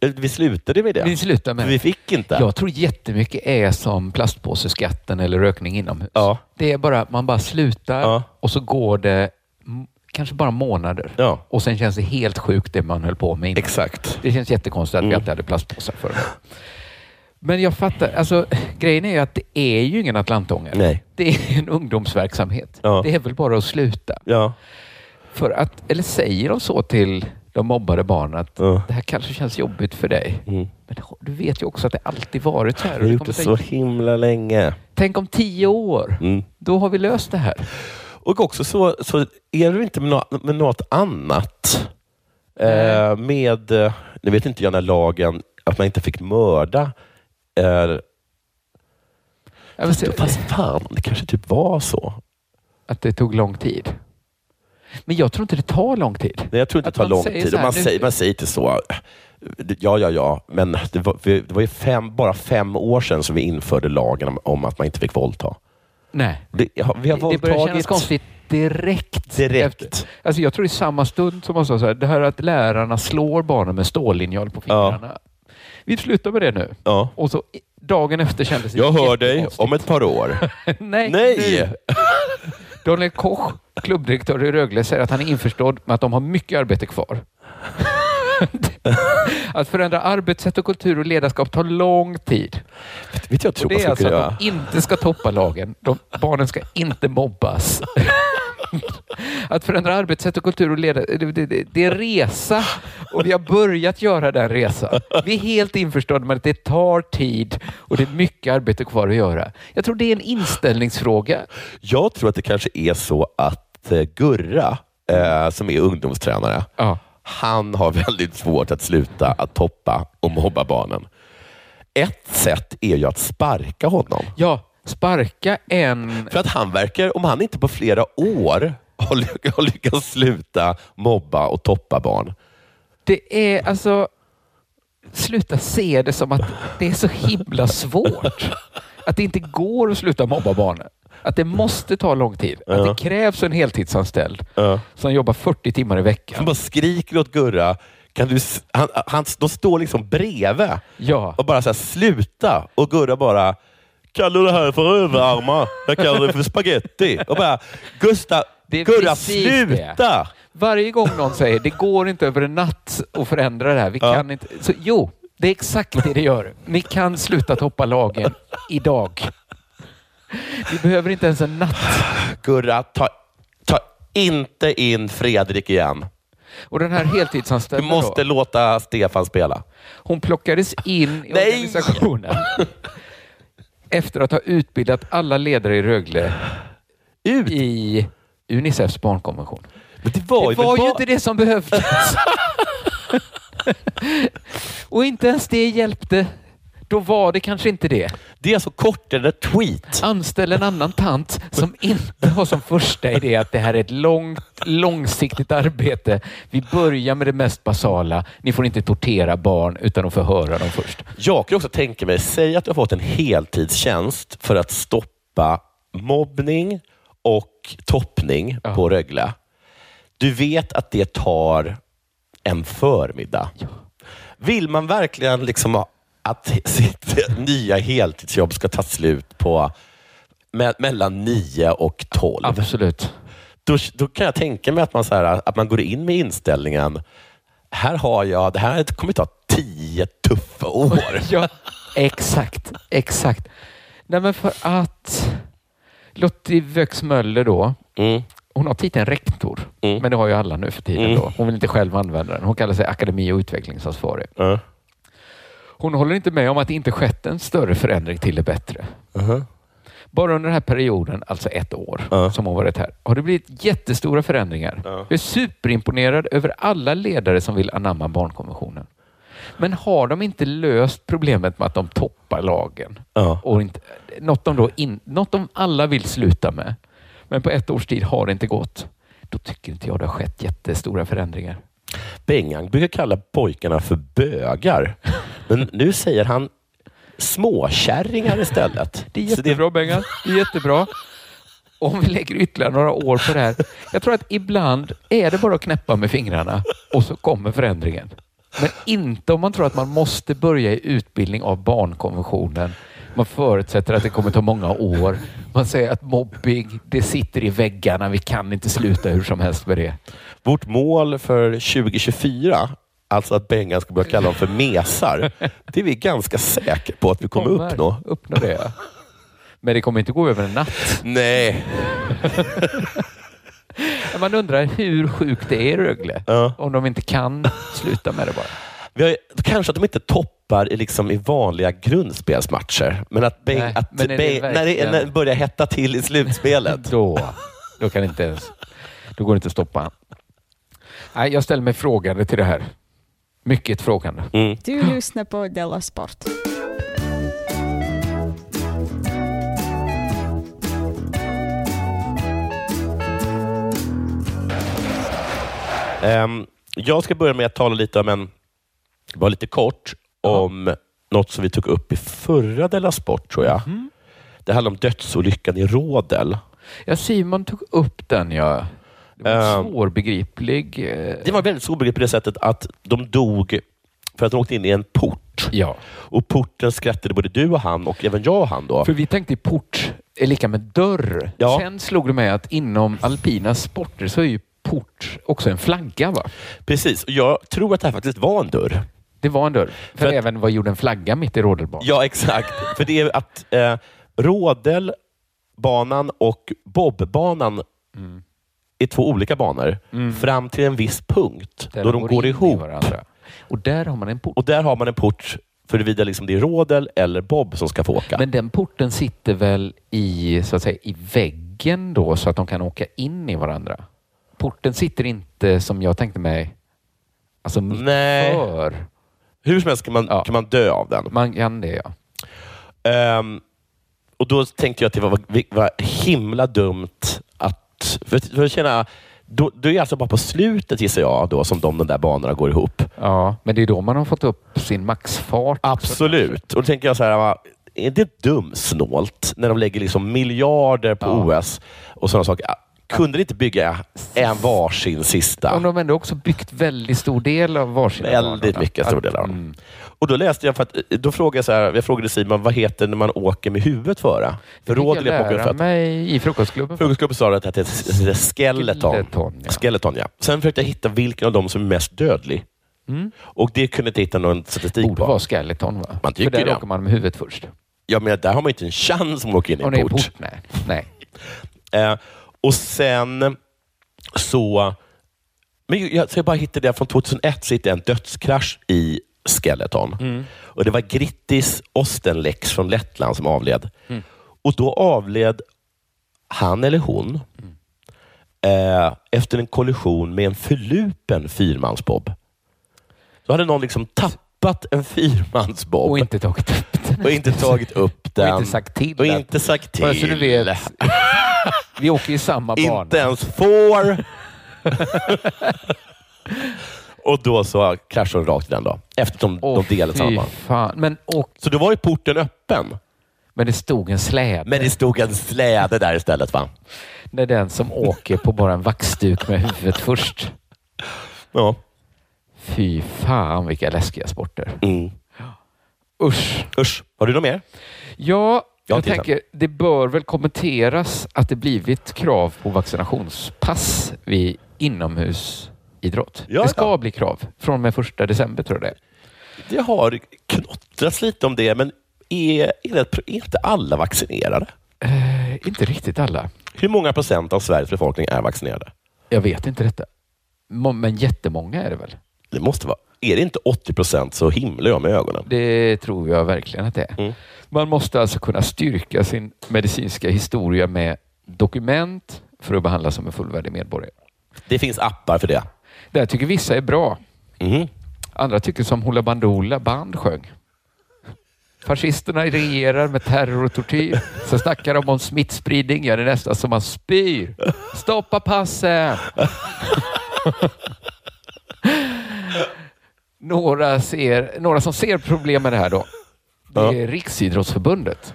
C: vi slutade med det.
D: Vi slutar
C: För vi
D: med
C: fick inte.
D: Jag tror jättemycket är som plastpåseskatten eller rökning inomhus.
C: Ja.
D: Det är bara att man bara slutar
C: Ja.
D: och så går det m- kanske bara månader.
C: Ja.
D: Och sen känns det helt sjukt det man höll på med innan.
C: Exakt.
D: Det känns jättekonstigt att vi
C: Mm.
D: alltid hade plastpåsar förr. Men jag fattar. Alltså, grejen är ju att det är ju ingen atlantångare.
C: Nej.
D: Det är en ungdomsverksamhet.
C: Ja.
D: Det är väl bara att sluta.
C: Ja.
D: För att, eller säger de så till de mobbade barnen att
C: Ja.
D: det här kanske känns jobbigt för dig. Men du vet ju också att det alltid varit så här.
C: Vi har
D: Det
C: gjort
D: kommer
C: det så
D: säkert-
C: himla länge.
D: Tänk om tio år.
C: Mm.
D: Då har vi löst det här.
C: Och också så, så är det inte med något, med något annat. Eh, med, eh, nu vet inte jag när lagen, att man inte fick mörda. Eh,
D: Ja, men se-
C: fast fan, det kanske typ var så.
D: Att det tog lång tid. Men jag tror inte det tar lång tid.
C: Nej, jag tror inte
D: Att
C: det tar
D: man
C: lång
D: säger
C: tid.
D: så
C: Och
D: här,
C: man,
D: nu-
C: säger, man säger inte så. Ja, ja, ja. Men det var, vi- det var ju fem, bara fem år sedan som vi införde lagen om, om att man inte fick våldta.
D: Nej.
C: Det, ja, vi har
D: Det börjar kännas
C: våldtagit
D: konstigt direkt.
C: direkt.
D: Efter- Alltså jag tror i samma stund som man sa så här, det här att lärarna slår barnen med stållinjal på fingrarna. Vi slutar med det nu.
C: Ja.
D: Och så i- dagen efter kändes det
C: Jag hör dig
D: jättekonstigt.
C: om ett par år.
D: Nej!
C: Nej!
D: Daniel Koch, klubbdirektör i Rögle, säger att han är införstådd med att de har mycket arbete kvar. att förändra arbetssätt och kultur och ledarskap tar lång tid.
C: Vet jag
D: Och
C: tror
D: det
C: man
D: är
C: skulle
D: alltså
C: kunna
D: att
C: göra.
D: de inte ska toppa lagen. De, barnen ska inte mobbas. Att förändra arbetssätt och kultur och leda, det, det, det- det är resa och vi har börjat göra den resan. Vi är helt införstådda med att det tar tid och det är mycket arbete kvar att göra. Jag tror det är en inställningsfråga.
C: Jag tror att det kanske är så att eh, Gurra, eh, som är ungdomstränare,
D: Ja.
C: han har väldigt svårt att sluta att toppa och mobba barnen. Ett sätt är ju att sparka honom.
D: Ja, sparka en...
C: För att han verkar, om han inte på flera år har, ly- har lyckats sluta mobba och toppa barn.
D: Det är alltså... Sluta se det som att det är så himla svårt. Att det inte går att sluta mobba barnen. Att det måste ta lång tid. Att det krävs en heltidsanställd som jobbar 40 timmar i veckan.
C: Som bara skriker åt Gurra. Kan du, s- han, han, de står liksom bredvid och bara så här, sluta. Och Gurra bara, kallar du det här för överarmar? Jag kallar det för spaghetti. Och bara, Gustav,
D: Det är
C: Gurra
D: precis
C: sluta!
D: Det. Varje gång någon säger det går inte över en natt att förändra det här. Vi kan inte. Så, jo, det är exakt det det gör. Ni kan sluta toppa lagen idag. Vi behöver inte ens en natt.
C: Gurra, ta, ta inte in Fredrik igen.
D: Och den här heltidsanställda
C: Du måste låta Stefan spela.
D: Hon plockades in i organisationen efter att ha utbildat alla ledare i Rögle i Unicefs barnkonvention.
C: det var,
D: det var ju inte det som behövdes. Och inte ens det hjälpte. Då var det kanske inte det.
C: Det är så kort eller tweet.
D: Anställ en annan tant som inte har som första idé att det här är ett långt, långsiktigt arbete. Vi börjar med det mest basala. Ni får inte tortera barn utan att förhöra dem först.
C: Jag kan också tänka mig, säg att du har fått en heltidstjänst för att stoppa mobbning och toppning på Rögle. Du vet att det tar en förmiddag. Vill man verkligen liksom ha- att sitt nya heltidsjobb ska ta slut på me- mellan 9 och 12?
D: Absolut.
C: Då, då kan jag tänka mig att man, så här, att man går in med inställningen, här har jag, det här kommer ta tio tuffa år.
D: ja, exakt, exakt. Nej, men för att Lottie Wöxmöller då, hon har titeln rektor, men det har ju alla nu för tiden. Då. Hon vill inte själv använda den. Hon kallar sig akademi och utvecklingsansvarig. Hon håller inte med om att det inte skett en större förändring till det bättre. Bara under den här perioden, alltså ett år, som hon varit här, har det blivit jättestora förändringar. Jag är superimponerad över alla ledare som vill anamma barnkonventionen. Men har de inte löst problemet med att de toppar lagen? Och inte, något, de då in, något de alla vill sluta med, men på ett års tid har det inte gått. Då tycker inte jag det har skett jättestora förändringar.
C: Bengan brukar kalla pojkarna för bögar. Men nu säger han småkärringar istället.
D: Det är jättebra Bengan. Det är jättebra. Om vi lägger ytterligare några år på det här. Jag tror att ibland är det bara att knäppa med fingrarna och så kommer förändringen. Men inte om man tror att man måste börja i utbildning av barnkonventionen. Man förutsätter att det kommer ta många år. Man säger att mobbing, det sitter i väggarna. Vi kan inte sluta hur som helst med det.
C: Vårt mål för 2024, alltså att Bengan ska börja kalla dem för mesar, det är vi ganska säkra på att vi kommer uppnå.
D: Uppnå det, ja. Men det kommer inte gå över en natt.
C: Nej.
D: Man undrar hur sjukt det är i Rögle. Om de inte kan sluta med det bara.
C: Vi har, kanske att de inte toppar i, liksom, i vanliga grundspelsmatcher, men att, Beng,
D: Nej,
C: att
D: men är det
C: Beng, när, det,
D: verkligen-
C: när det börjar hetta till i slutspelet.
D: Då, då kan inte ens, då går det inte att stoppa han. Nej, jag ställer mig frågande till det här. Mycket frågande.
C: Mm.
H: Du lyssnar på Della Sport.
C: Ehm, jag ska börja med att tala lite om en, bara lite kort, om något som vi tog upp i förra Della Sport, tror jag. Det handlar om dödsolyckan i Rådel.
D: Ja, Simon tog upp den, ja. Det var
C: Ehm.
D: en svårbegriplig... eh,
C: Det var väldigt svårbegripligt på det sättet att de dog för att de åkte in i en port.
D: Ja.
C: Och porten skrattade både du och han och även jag och han. Då.
D: För vi tänkte port är lika med dörr.
C: Ja.
D: Sen slog det mig att inom alpina sporter så är ju port också en flagga, va?
C: Precis. Och jag tror att det här faktiskt var en dörr.
D: Det var en dörr. För,
C: att-
D: även var gjord en flagga mitt i rodelbanan.
C: Ja, exakt. För det är att eh, Rådelbanan och Bobbanan
D: Mm.
C: är två olika banor fram till en viss punkt
D: Där
C: då de går
D: in i
C: ihop.
D: varandra. Och där har man en port.
C: Och där har man en port förvida liksom det är Rådel eller Bob som ska få åka.
D: Men den porten sitter väl i, så att säga, i väggen då så att de kan åka in i varandra? Porten sitter inte som jag tänkte mig, alltså mitt
C: Nej.
D: för.
C: Hur som helst kan man,
D: Ja.
C: kan man dö av den.
D: Man kan det ja.
C: Ehm, och Då tänkte jag att det var, var himla dumt att... För, för att känna, då, då är det alltså bara på slutet, gissar jag, då, som de, de där banorna går ihop.
D: ja. Men det är då man har fått upp sin maxfart.
C: Absolut. Och då tänker jag så här, va, är det dumsnålt när de lägger liksom miljarder på OS och sådana saker? Kunde de inte bygga en varsin sista?
D: Om de ändå också byggt väldigt stor del av varsina
C: Väldigt mycket stor del av dem.
D: Mm.
C: Och då läste jag, för att, då frågade jag, så här, jag frågade Simon, vad heter det när man åker med huvudet före? För
D: fick jag
C: rådet jag på
D: lära
C: för att,
D: mig i frukostklubben.
C: Frukostklubben sa att det är skeleton.
D: Skeleton,
C: ja. skeleton ja. Sen försökte jag hitta vilken av dem som är mest dödlig.
D: Mm.
C: Och det kunde jag inte hitta någon statistik
D: Borde
C: på.
D: vara skeleton va?
C: Man tycker
D: För där
C: det.
D: åker man med huvudet först.
C: Ja, men där har man ju inte en chans om man åker in i
D: Om det är
C: en port.
D: port, nej. nej.
C: Eh, och sen så... Men ju- jag, så jag bara hittade det här från 2001, så hittade jag en dödskrasch i Skeleton.
D: Mm.
C: Och Det var Grittis Ostenlex från Lettland som avled.
I: Mm.
C: Och Då avled han eller hon
D: Mm.
C: eh, efter en kollision med en förlupen fyrmansbob. Då hade någon liksom tappat en fyrmansbob. Och
D: inte tagit
C: upp den. Och inte tagit upp den.
D: inte sagt till
C: Och
D: den.
C: inte sagt till.
D: Bara så du vet. Vi åker i samma bana.
C: Inte ens får. och då så kraschade de rakt i den då. Eftersom de delade
D: fy
C: samman.
D: fan. Men, och,
C: Så då var ju porten öppen.
D: Men det stod en släde.
C: Men det stod en släde där istället va?
D: det är den som åker på bara en vaxduk med huvudet först.
C: Ja.
D: Fy fan vilka läskiga sporter.
C: Mm.
D: Usch.
C: Usch. Har du något mer?
D: Ja,
C: Jag har
D: jag,
C: inte
D: tänker det bör väl kommenteras att det blivit krav på vaccinationspass vid inomhusidrott.
C: Ja,
D: det ska bli krav från och med första december tror jag det är.
C: Det har knottrats lite om det, men är, är, det, är inte alla vaccinerade?
D: Eh, inte riktigt alla.
C: Hur många procent av Sveriges befolkning är vaccinerade?
D: Jag vet inte detta. Må- Men jättemånga är det väl?
C: Det måste vara. Är det inte 80 procent så himlar jag med ögonen.
D: Det tror jag verkligen att det är. Man måste alltså kunna styrka sin medicinska historia med dokument för att behandlas som en fullvärdig medborgare.
C: Det finns appar för det.
D: Det här tycker vissa är bra.
C: Mm.
D: Andra tycker som Hoola Bandoola band sjöng. Fascisterna regerar med terror och tortyr. Sen snackar de om smittspridning. Ja, det är nästan som man spyr. Stoppa passen! några, ser, några som ser problem med det här då. Det är Riksidrottsförbundet.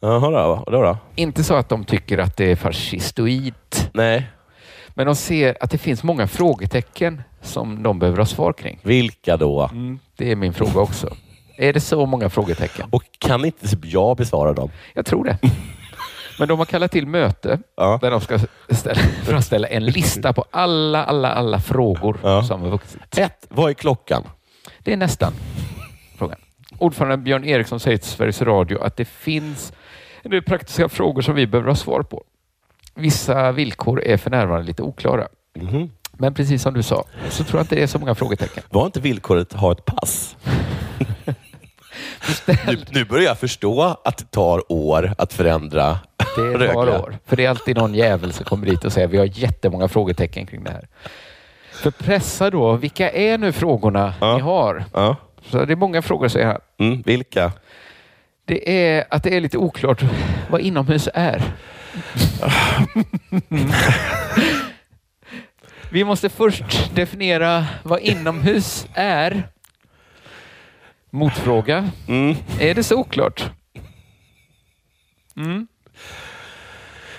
C: Jaha då. då, då.
D: Inte så att de tycker att det är fascistoid.
C: Nej.
D: Men de ser att det finns många frågetecken som de behöver ha svar kring.
C: Vilka då?
D: Det är min fråga också. Är det så många frågetecken?
C: Och kan inte typ jag besvara dem?
D: Jag tror det. Men de har kallat till möte där de ska ställa, för att ställa en lista på alla, alla, alla frågor som har vuxit.
C: Ett, vad är klockan?
D: Det är nästan frågan. Ordföranden Björn Eriksson säger till Sveriges Radio att det finns en del praktiska frågor som vi behöver ha svar på. Vissa villkor är för närvarande lite oklara. Men precis som du sa så tror jag inte det är så många frågetecken.
C: Var inte villkoret att ha ett pass? nu, nu börjar jag förstå att det tar år att förändra
D: Det tar år. För det är alltid någon jävel som kommer dit och säger vi har jättemånga frågetecken kring det här. För pressa då, vilka är nu frågorna ni har? Så det är många frågor säger han.
C: Mm, vilka?
D: Det är att det är lite oklart vad inomhus är. Vi måste först definiera vad inomhus är. Motfråga. Är det så oklart? Mm.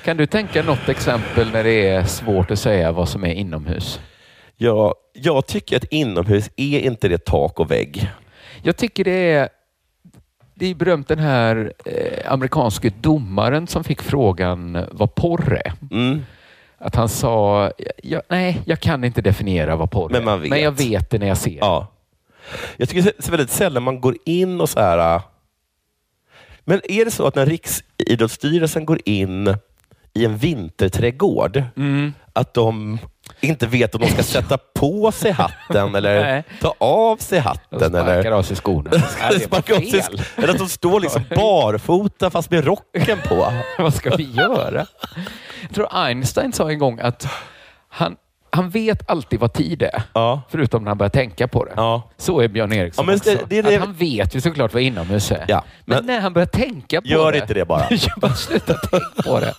D: Kan du tänka något exempel när det är svårt att säga vad som är inomhus?
C: Ja, jag tycker att inomhus är inte det tak och vägg.
D: Jag tycker det är det är berömt den här eh, amerikanske domaren som fick frågan vad porr är.
C: Mm.
D: Att han sa, jag, nej, jag kan inte definiera vad porr
C: Men
D: är.
C: man vet.
D: Men jag vet det när jag ser det.
C: Ja. Jag tycker så- så väldigt sällan man går in och så här... äh, Men är det så att när Riksidrottsstyrelsen går in i en vinterträdgård,
D: Mm.
C: att de inte vet om de ska sätta på sig hatten eller
D: Nej.
C: ta av sig hatten. De
D: sparkar
C: eller...
D: av sig skorna.
C: Eller, sparkar av sig
D: fel.
C: sk- eller att de står liksom barfota fast med rocken på.
D: Vad ska vi göra? Jag tror Einstein sa en gång att han, han vet alltid vad tid är, förutom när han börjar tänka på det. Så är Björn Eriksson
C: Ja, men
D: också.
C: det- det är det-
D: Att han vet ju såklart vad inomhus är. men, när han börjar tänka på
C: Gör
D: det...
C: inte det bara.
D: Jag bara sluta tänka på det.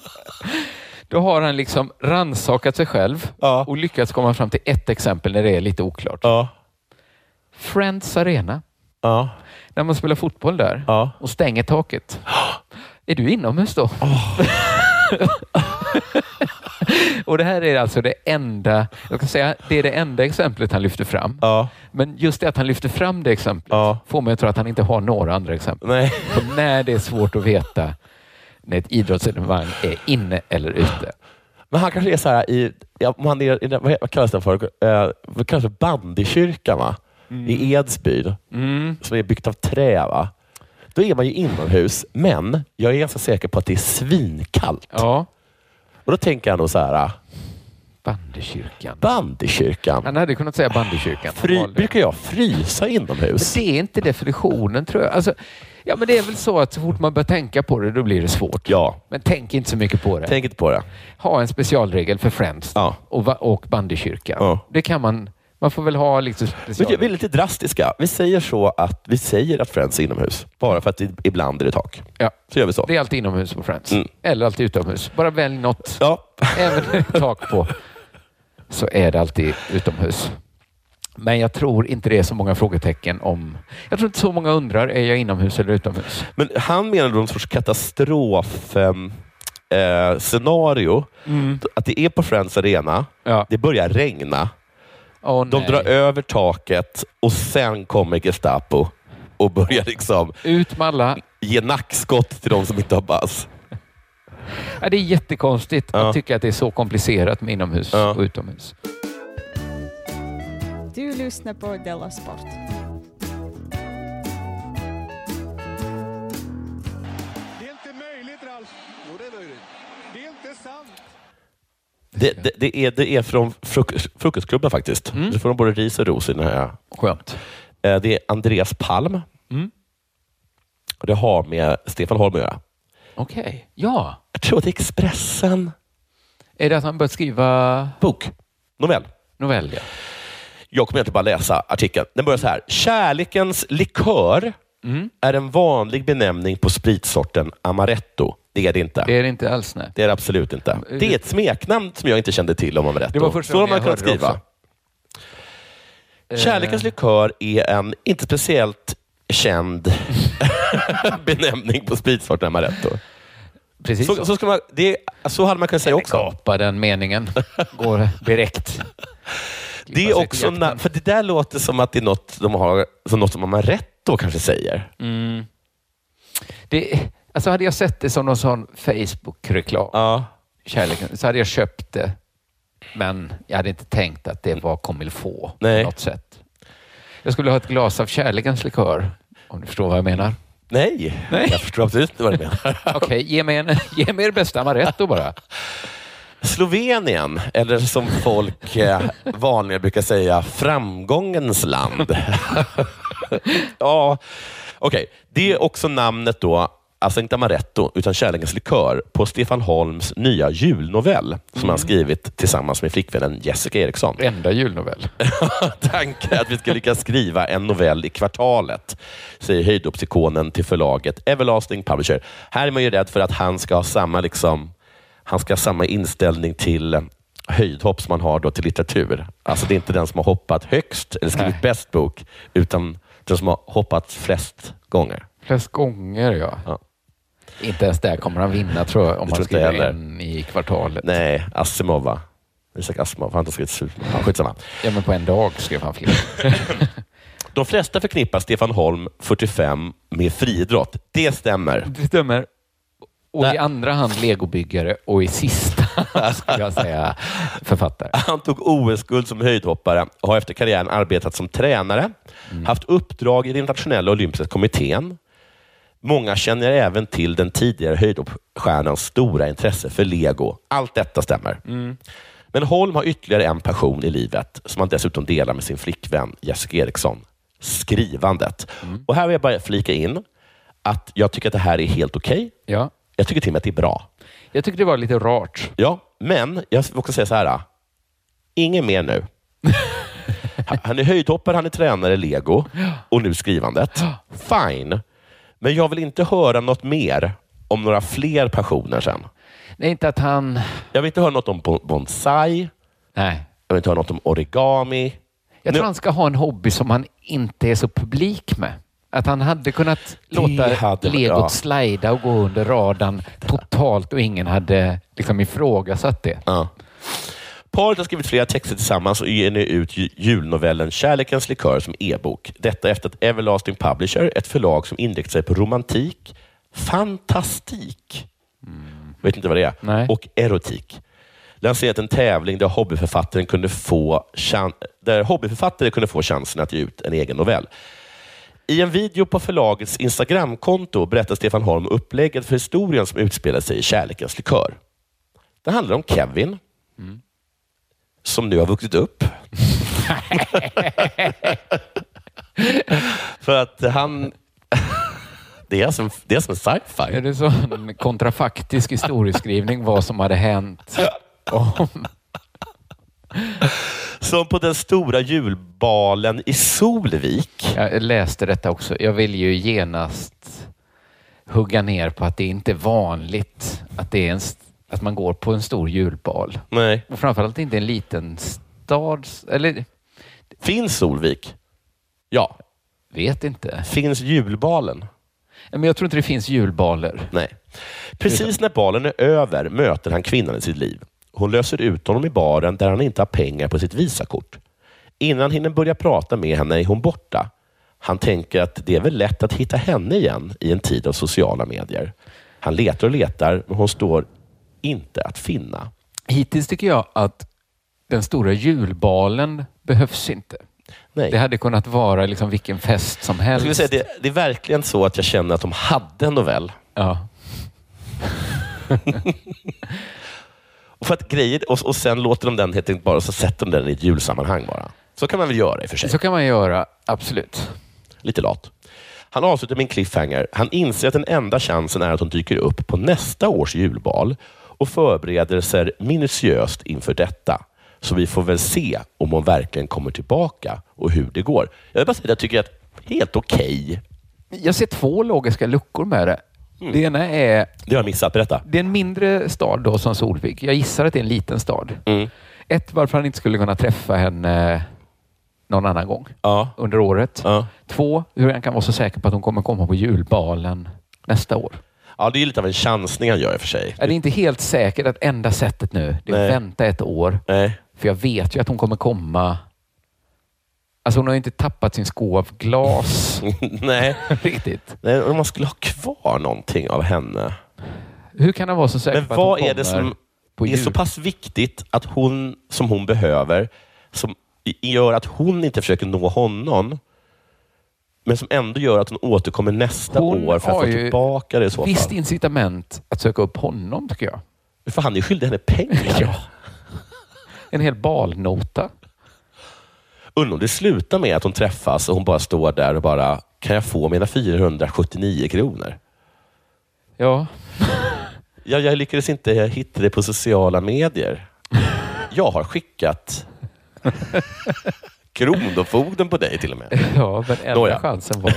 D: Då har han liksom ransakat sig själv och lyckats komma fram till ett exempel när det är lite oklart.
C: Ja.
D: Friends Arena. När man spelar fotboll där och stänger taket. Är du inomhus då? och det här är alltså det enda, jag kan säga, det är det enda exemplet han lyfter fram. Men just det att han lyfter fram det exemplet får mig att tro att han inte har några andra exempel. På när det är svårt att veta när ett idrottsevenemang är inne eller ute.
C: Men han kanske är så här i, ja, om han är, i den- vad he- vad kallas den för? Eh, vad kallas det? Bandykyrkan va?
D: Mm.
C: I Edsbyn. Som är byggt av trä. va? Då är man ju inomhus, men jag är ganska säker på att det är svinkallt. Och då tänker jag nog så här.
D: Bandykyrkan.
C: Bandykyrkan.
D: Han hade kunnat säga bandykyrkan.
C: Fry, brukar jag frysa
D: Men
C: inomhus?
D: det är inte definitionen tror jag. Alltså, ja, men det är väl så att så fort man börjar tänka på det, då blir det svårt.
C: Ja.
D: Men tänk inte så mycket på det.
C: Tänk inte på det.
D: Ha en specialregel för Friends och, va- och bandykyrkan. Det kan man. Man får väl ha liksom
C: Men jag-
D: special...
C: vi är lite drastiska. Vi säger så att vi säger att Friends är inomhus. Bara för att det, ibland är det tak.
D: Ja.
C: Så gör vi så.
D: Det är alltid inomhus på Friends.
C: Mm.
D: Eller alltid utomhus. Bara välj något. Även när det är tak på så är det alltid utomhus. Men jag tror inte det är så många frågetecken om... Jag tror inte så många undrar, är jag inomhus eller utomhus?
C: Men han menar någon sorts katastrof ehm, eh, scenario.
D: Mm.
C: Att det är på Friends Arena. Det börjar regna. De
D: nej.
C: drar över taket och sen kommer Gestapo och börjar liksom
D: Ut med alla.
C: ge nackskott till de som inte har bass.
D: Ja, det är jättekonstigt att tycka att det är så komplicerat med inomhus och utomhus.
H: Du lyssnar på Della Sport.
C: Det, det, det, är, det är från fruk- Frukostklubben faktiskt.
D: Mm.
C: Nu får de både ris och ros i den här.
D: Skönt.
C: Eh, Det är Andreas Palm.
D: Mm.
C: Och det har med Stefan Holm att göra.
D: Okej. Ja.
C: Jag tror att det är Expressen.
D: Är det att han börjat skriva...
C: Bok. Novell.
D: Novell, ja.
C: Jag kommer inte bara läsa artikeln. Den börjar så här. Kärlekens likör är en vanlig benämning på spritsorten amaretto. Det är det inte.
D: Det är det inte alls, nej.
C: Det är det absolut inte. Det är ett smeknamn som jag inte kände till om amaretto.
D: Det var första
C: Så har
D: gången
C: man
D: jag
C: kunnat
D: hörde det Eh.
C: skriva. Kärlekens likör är en inte speciellt känd benämning på spritsorten amaretto.
D: Precis
C: så,
D: så.
C: så. ska man, det, är- så hade man kunnat säga också.
D: Kapa den meningen. Går direkt.
C: Det är också na- för det där låter som att det är något, de har, som något som amaretto kanske säger.
D: Mm. Det, alltså hade jag sett det som någon sån Facebook-reklam, kärleken, så hade jag köpt det. Men jag hade inte tänkt att det var comilfå på
C: Nej.
D: något sätt. Jag skulle ha ett glas av kärlekens likör, om du förstår vad jag menar.
C: Nej, jag förstår absolut inte vad du menar.
D: Okej, ge, mig en- ge mig er bästa amaretto bara.
C: Slovenien, eller som folk eh, vanligen brukar säga, framgångens land. ja, okej. Det är också namnet då, alltså inte Amaretto, utan Kärlekens likör, på Stefan Holms nya julnovell som han skrivit tillsammans med flickvännen Jessica Eriksson.
D: Enda julnovell.
C: Tanken att vi ska lyckas skriva en novell i kvartalet, säger höjdhoppsikonen till förlaget Everlasting Publisher. Här är man ju rädd för att han ska ha samma, liksom, han ska ha samma inställning till eh, höjdhopp som man har då till litteratur. Alltså det är inte den som har hoppat högst eller skrivit bäst bok, utan den som har hoppat flest gånger.
D: Flest gånger, ja.
C: Ja.
D: Inte ens där kommer han vinna, tror jag, om
C: Det tror inte
D: han
C: jag
D: skriver
C: heller.
D: en i kvartalet.
C: Nej, Asimov va? Isak Asimov, han har inte skrivit supermånga. Ja, Skitsamma.
D: Ja, men på en dag skrev han flera.
C: De flesta förknippar Stefan Holm, 45, med friidrott. Det stämmer.
D: Det stämmer. Och i andra hand legobyggare och i sista hand skulle jag säga författare.
C: Han tog OS-guld som höjdhoppare och har efter karriären arbetat som tränare, haft uppdrag i den internationella olympiska kommittén. Många känner även till den tidigare höjdhoppsstjärnans stora intresse för lego. Allt detta stämmer. Men Holm har ytterligare en passion i livet som han dessutom delar med sin flickvän Jessica Eriksson. Skrivandet. Och Här vill jag bara flika in att jag tycker att det här är helt okej.
D: Ja.
C: Jag tycker till och med att det är bra.
D: Jag tycker det var lite rart.
C: Ja, men jag vill också säga så här. Inget mer nu. Han- Han är höjdhoppare, han är tränare i lego och nu skrivandet. Fine. Men jag vill inte höra något mer om några fler passioner sen.
D: Nej, inte att han...
C: Jag vill inte höra något om bon- bonsai.
D: Nej.
C: Jag vill inte höra något om origami.
D: Jag tror
C: Nu-
D: han ska ha en hobby som han inte är så publik med. Att han hade kunnat
I: Det
D: låta
I: hade-
D: legot
I: ja.
D: slida och gå under radarn totalt och ingen hade liksom ifrågasatt det.
C: Ja. Paret har skrivit flera texter tillsammans och ger nu ut ju- julnovellen Kärlekens likör som e-bok. Detta efter att Everlasting Publisher, ett förlag som inriktar sig på romantik, fantastik, vet inte vad det är, och erotik, lanserat en tävling där hobbyförfattaren kunde få chan- där hobbyförfattare kunde få chansen att ge ut en egen novell. I en video på förlagets Instagramkonto berättar Stefan Holm upplägget för historien som utspelar sig i Kärlekens likör. Det handlar om Kevin, som nu har vuxit upp. För att han... det, är som, det är som en sci-fi.
D: Är det så en kontrafaktisk historieskrivning vad som hade hänt om...
C: Som på den stora julbalen i Solvik.
D: Jag läste detta också. Jag vill ju genast hugga ner på att det inte är vanligt att, det är en, st- att man går på en stor julbal.
C: Nej.
D: Och framförallt inte en liten stad. Eller...
C: Finns Solvik? Ja.
D: Vet inte.
C: Finns julbalen?
D: Men jag tror inte det finns julbaler.
C: Nej. Precis när balen är över möter han kvinnan i sitt liv. Hon löser ut honom i baren där han inte har pengar på sitt visakort. Innan han hinner börja prata med henne är hon borta. Han tänker att det är väl lätt att hitta henne igen i en tid av sociala medier. Han letar och letar, men hon står inte att finna.
D: Hittills tycker jag att den stora julbalen behövs inte.
C: Nej.
D: Det hade kunnat vara liksom vilken fest som
C: Jag
D: helst.
C: skulle säga, det, det är verkligen så att jag känner att de hade en novell.
D: Ja.
C: och, för att grejer, och, och sen låter de den helt enkelt bara, så sätter de den i ett julsammanhang bara. Så kan man väl göra i och för sig.
D: Så kan man göra, absolut.
C: Lite lat. Han avslutar med en cliffhanger. Han inser att den enda chansen är att hon dyker upp på nästa års julbal och förbereder sig minutiöst inför detta. Så vi får väl se om hon verkligen kommer tillbaka och hur det går. Jag vill bara säga att jag tycker att helt okej.
D: Jag ser två logiska luckor med det.
C: Mm.
D: Det ena är...
C: Det har jag missat. Berätta.
D: Det är en mindre stad då som Solvik. Jag gissar att det är en liten stad.
C: Mm.
D: Ett, varför han inte skulle kunna träffa henne någon annan gång under året. Två, hur han kan vara så säker på att hon kommer komma på julbalen nästa år.
C: Ja, det är lite av en chansning han gör i och för sig.
D: Är det inte helt säkert att enda sättet nu det är
C: Nej.
D: att vänta ett år?
C: Nej.
D: För jag vet ju att hon kommer komma... Alltså hon har ju inte tappat sin sko av glas.
C: Nej.
D: Riktigt.
C: Nej, om man skulle ha kvar någonting av henne.
D: Hur kan han vara så säker
C: Men
D: på att hon
C: vad
D: kommer
C: är det som
D: på
C: är
D: jul?
C: så pass viktigt att hon, som hon behöver, som i- gör att hon inte försöker nå honom, men som ändå gör att hon återkommer nästa
D: Hon
C: år för att
D: har
C: få
D: ju
C: tillbaka det i så fall?
D: Visst incitament att söka upp honom tycker jag.
C: För han är skyldig henne pengar. ja.
D: En hel balnota.
C: Undrar om det slutar med att hon träffas och hon bara står där och bara, kan jag få mina 479 kronor?
D: Ja.
C: jag, jag lyckades inte hitta det på sociala medier. Jag har skickat kronofogden på dig till och med.
D: Ja, men enda
C: Nåja.
D: chansen var...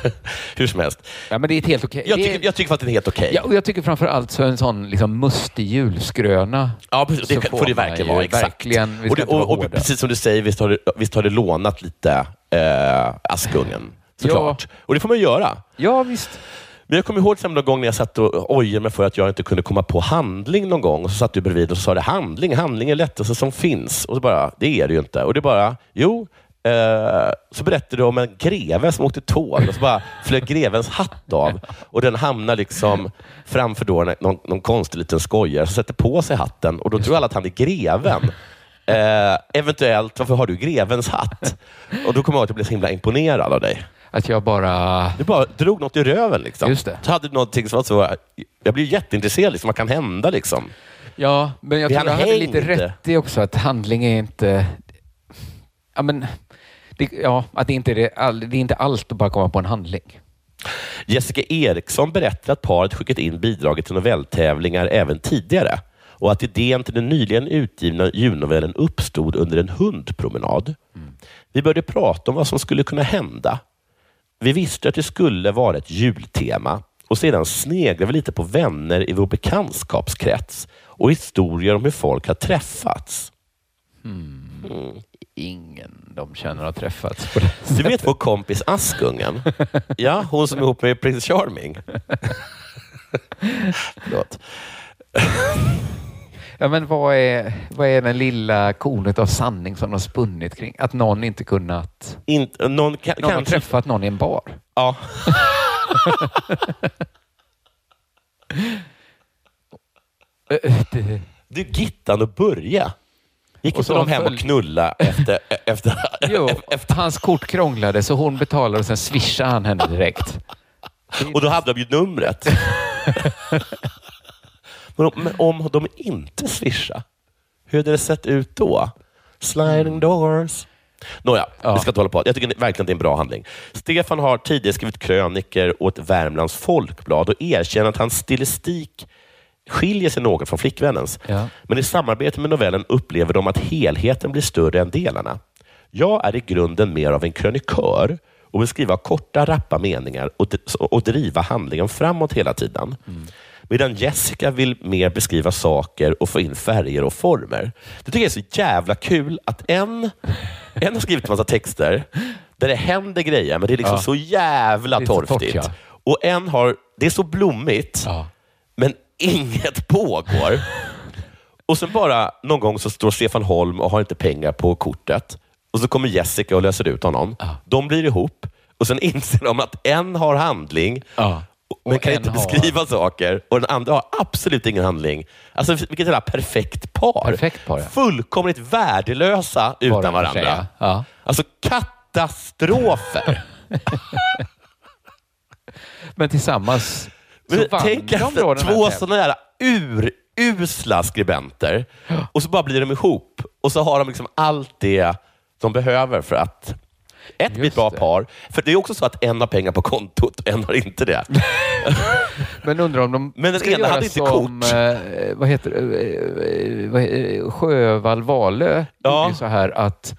C: Hur som helst.
D: Ja, men det är ett helt okej.
C: Jag,
D: det är-
C: tycker, jag tycker faktiskt det är helt okej.
D: Ja, och jag tycker framför allt så en sån liksom mustig julskröna.
C: Ja, precis.
D: så
C: Det får det
D: man
C: verkligen
D: ju
C: vara. Exakt.
D: Verkligen, vi
C: och,
D: ska
C: det,
D: inte vara
C: och,
D: hårda.
C: och precis som du säger, visst har det, visst har det lånat lite eh, Askungen. Såklart. Och det får man ju göra.
D: Ja, visst.
C: Men jag kommer ihåg till exempel någon gång när jag satt och ojade mig för att jag inte kunde komma på handling någon gång. Och så satt du bredvid och så sa det handling, handling är lättaste som finns. Och så bara, det är det ju inte. Och det bara, jo. Eh, så berättade du om en greve som åkte tåg och så bara flög grevens hatt av och den hamnar liksom framför då när- någon, någon konstig liten skojare som sätter på sig hatten och då tror alla att han är greven. Eh, eventuellt, varför har du grevens hatt? Och då kommer jag ihåg att jag blev så himla imponerad av dig.
D: Att jag bara...
C: Du bara drog något i röven. Liksom.
D: Just det.
C: Så hade du någonting som var så... Jag blev jätteintresserad. Liksom. Vad kan hända? Liksom.
D: Ja, men jag
C: Vi
D: tror jag
C: hade
D: hade lite
C: hängt.
D: rätt i också att handling är inte... Ja, men... Det, ja, att det inte är, det, all, det är inte allt att bara komma på en handling.
C: Jessica Eriksson berättar att paret skickat in bidraget till novelltävlingar även tidigare och att idén till den nyligen utgivna julnovellen uppstod under en hundpromenad. Vi började prata om vad som skulle kunna hända. Vi visste att det skulle vara ett jultema och sedan sneglade vi lite på vänner i vår bekantskapskrets och historier om hur folk har träffats. Mm.
D: ingen de känner har träffats på det
C: Du vet vår kompis Askungen? Ja, hon som är ihop med prins Charming. Förlåt.
D: Ja, men vad är, vad är den lilla kornet av sanning som de har spunnit kring? Att någon inte kunnat...
C: Inte, någon ka-
D: någon har
C: kanske-
D: träffat någon i en bar.
C: Ja. Eh, Du, Gittan och Börje. Gick
D: Och
C: inte
D: så
C: de
D: de
C: hem och
D: följ-
C: knulla efter... efter
D: Jo, hans kort krånglade så hon betalade och sen swishade han henne direkt.
C: och då hade de ju numret. men, om, men om de inte swishade, hur hade det sett ut då? Sliding doors. Nåja, vi ska inte hålla på. Jag tycker verkligen det är en bra handling. Stefan har tidigare skrivit kröniker åt Värmlands Folkblad och erkänner att hans stilistik skiljer sig något från flickvännens.
D: Ja.
C: Men i samarbete med novellen upplever de att helheten blir större än delarna. Jag är i grunden mer av en krönikör och vill skriva korta, rappa meningar och, d- och driva handlingen framåt hela tiden. Medan Jessica vill mer beskriva saker och få in färger och former. Det tycker jag är så jävla kul att en, en har skrivit en massa texter där det händer grejer, men det är liksom
D: Ja.
C: så jävla
D: Det är så torrt,
C: torftigt.
D: ja.
C: Och en har, det är så blommigt, men inget pågår. och sen bara någon gång så står Stefan Holm och har inte pengar på kortet. Och så kommer Jessica och löser ut honom. De blir ihop och sen inser de att en har handling, men kan
D: en
C: inte
D: har-
C: beskriva saker. Och den andra har absolut ingen handling. Alltså vilket jävla perfekt par.
D: Perfekt par, ja.
C: Fullkomligt värdelösa
D: Bara
C: utan
D: för sig,
C: varandra.
D: ja. Ja.
C: Alltså katastrofer.
D: Men tillsammans så
C: Men
D: vann
C: tänk
D: de
C: att
D: då den här
C: två
D: tävlingen.
C: sådana här urusla skribenter och så bara blir de ihop och så har de liksom allt det de behöver för att ett, bli ett bra par. För det är också så att en har pengar på kontot och en har inte det.
D: Men undrar om de
C: Men den
D: ska
C: ena
D: göra
C: hade inte
D: som,
C: kort.
D: eh, vad heter det, eh, vad he- eh, Sjövall Wahlöö gjorde ju så här att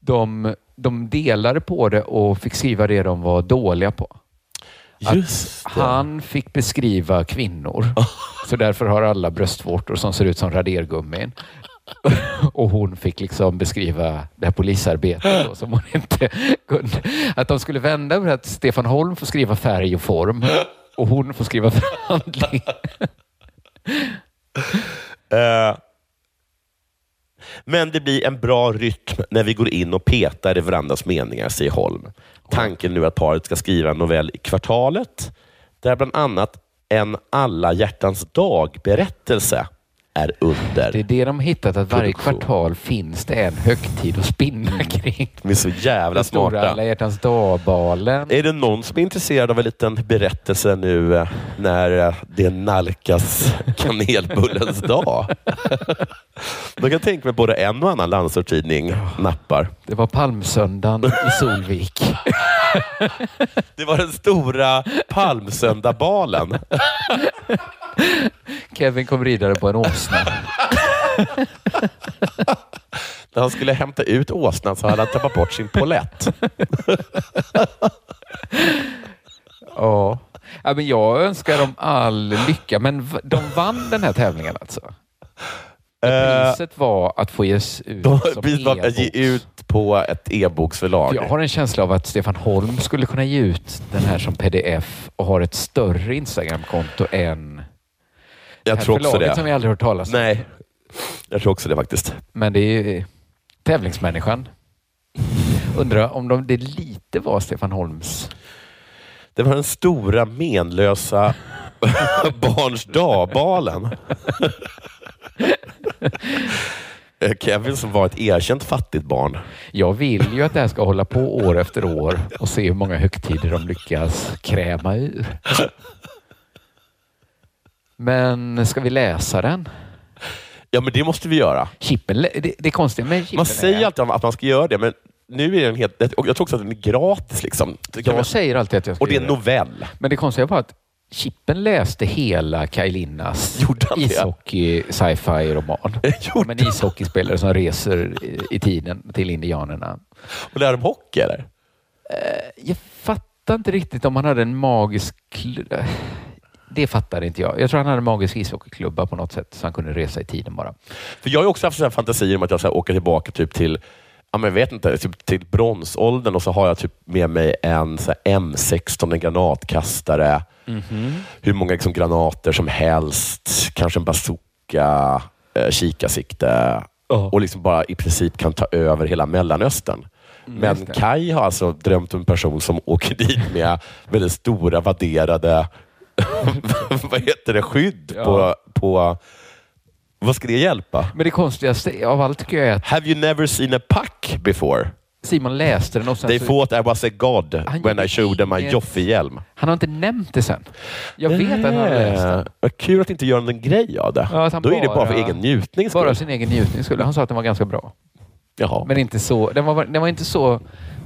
D: de, de delade på det och fick skriva det de var dåliga på.
C: Just
D: att han fick beskriva kvinnor. Så därför har alla bröstvårtor som ser ut som radergummin. Och hon fick liksom beskriva det här polisarbetet då, som hon inte kunde. Att de skulle vända över att Stefan Holm får skriva färg och form och hon får skriva förhandling.
C: Eh, men det blir en bra rytm när vi går in och petar i varandras meningar, säger Holm. Tanken nu är att paret ska skriva en novell i kvartalet, där bland annat en alla hjärtans dag-berättelse är under.
D: Det är det de hittat, att varje
C: Produktion.
D: kvartal finns det en högtid att spinna kring.
C: De är så jävla
D: Den stora
C: smarta.
D: alla hjärtans dag-balen.
C: Är det någon som är intresserad av en liten berättelse nu eh, när eh, det nalkas kanelbullens dag? Då kan jag tänka mig att både en och annan landsortstidning nappar.
D: Det var palmsöndagen i Solvik.
C: Det var den stora palmsöndagbalen.
D: Kevin kom ridare på en åsna.
C: När han skulle hämta ut åsnan så hade han tappat bort sin polett.
D: Ja. ja men jag önskar dem all lycka, men v- de vann den här tävlingen alltså. Men Priset var att få ges ut
C: Eh, De
D: som
C: precis var att ge
D: e-bok.
C: ut på ett e-boksförlag.
D: Jag har en känsla av att Stefan Holm skulle kunna ge ut den här som pdf och har ett större Instagramkonto än
C: Jag
D: det här
C: tror också
D: förlaget
C: det.
D: som jag aldrig hört talas om.
C: Nej, jag tror också det faktiskt.
D: Men det är ju tävlingsmänniskan. Undrar om de, det lite var Stefan Holms...
C: Det var den stora menlösa barns dagbalen. Eh, Kevin som var ett erkänt fattigt barn.
D: Jag vill ju att det här ska hålla på år efter år och se hur många högtider de lyckas kräma ur. Men ska vi läsa den?
C: Ja, men det måste vi göra.
D: Chippen, lä- det, det är konstigt med chippen.
C: Man
D: är-
C: säger alltid att man ska göra det, men nu är den helt... och Jag tror också att den är gratis. Liksom. Det kan
D: jag
C: man-
D: säger alltid att jag ska
C: Och det är en
D: göra
C: novell.
D: Men det konstiga var att Chippen läste hela Kaj Linnas
C: Gjorde han det?
D: ishockey sci-fi roman.
C: Gjorde
D: Om en ishockeyspelare som reser i- i tiden till indianerna.
C: Och lär dem hockey, eller?
D: Jag fattar inte riktigt om han hade en magisk... kl- Det fattade inte jag. Jag tror han hade en magisk ishockeyklubba på något sätt så han kunde resa i tiden bara.
C: För jag har ju också haft sådana här fantasier om att jag ska åka tillbaka typ till ja, men jag vet inte, typ till bronsåldern och så har jag typ med mig en så här M16, en granatkastare,
I: Mhm.
C: hur många liksom, granater som helst, kanske en bazooka, eh, kikarsikte och liksom bara i princip kan ta över hela Mellanöstern.
I: Mm,
C: Men
I: just det.
C: Kai har alltså drömt om en person som åker dit med väldigt stora vadderade vad heter det, skydd på, på... Vad ska det hjälpa?
D: Men det konstigaste av allt tycker jag är att...
C: Have you never seen a puck before?
D: Simon läste den och sen
C: They
D: så...
C: thought I was a god when
D: Alltså, gjorde
C: I showed them my
D: inget.
C: Joffe-hjälm.
D: Han har inte nämnt det sen. Jag vet att han har läst den.
C: Eh, Vad kul att inte göra någon grej av det.
D: Ja, att han
C: Då är det bara för egen njutning skull.
D: Bara sin egen njutning skulle. Han sa att den var ganska bra.
C: Jaha.
D: Men inte så, den, var, den var inte så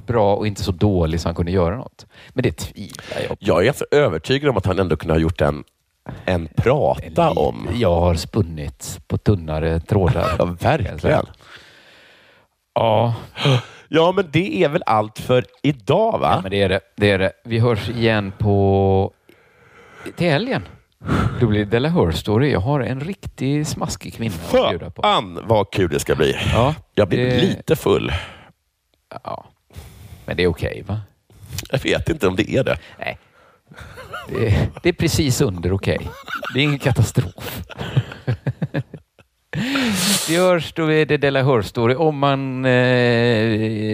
D: bra och inte så dålig så han kunde göra något. Men det tvivlar jag på.
C: Jag är ganska övertygad om att han ändå kunde ha gjort en, en prata om.
D: Jag har spunnit på tunnare trådar.
C: ja, verkligen.
D: Alltså. Ja.
C: Ja, men det är väl allt för idag, va?
D: Ja, men det är det. det, är det. Vi hörs igen på... till helgen. Då blir det Della Hör Story. Jag har en riktig smaskig kvinna att bjuda på. Eh.
C: Fan vad kul det ska bli. Ah. jag blir
D: det-
C: lite full.
D: Ja, men det är okej, va?
C: Jag vet inte om det är det.
D: Nej. Det är, det är precis under okej. Det är ingen katastrof. Vi hörs då är det Della Hör Story. Om man eh,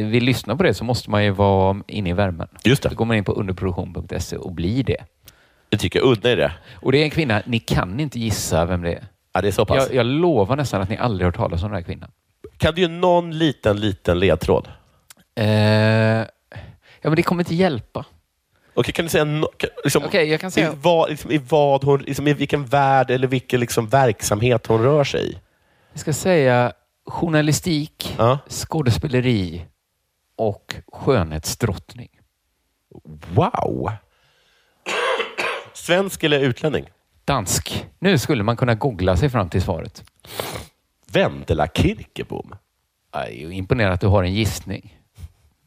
D: vill lyssna på det så måste man ju vara inne i värmen.
C: Just det.
D: Då går man in på underproduktion.se och blir det.
C: Jag tycker jag udda är det.
D: Och det är en kvinna, ni kan inte gissa vem det är.
C: Ja, det är så pass.
D: Jag, jag lovar nästan att ni aldrig har hört talas om den här kvinnan.
C: Kan du ge någon liten, liten ledtråd?
D: Eh, ja, men det kommer inte hjälpa.
C: Okej, kan du säga no- kan- liksom,
D: Okej, jag kan säga-
C: i, vad, liksom, i, vad hon, liksom, i vilken värld eller vilken liksom, verksamhet hon rör sig i?
D: Jag ska säga journalistik,
C: Ja.
D: skådespeleri och skönhetsdrottning.
C: Wow! Svensk eller utlänning?
D: Dansk. Nu skulle man kunna googla sig fram till svaret.
C: Vendela Kirkebom?
D: Jag är ju imponerad att du har en gissning.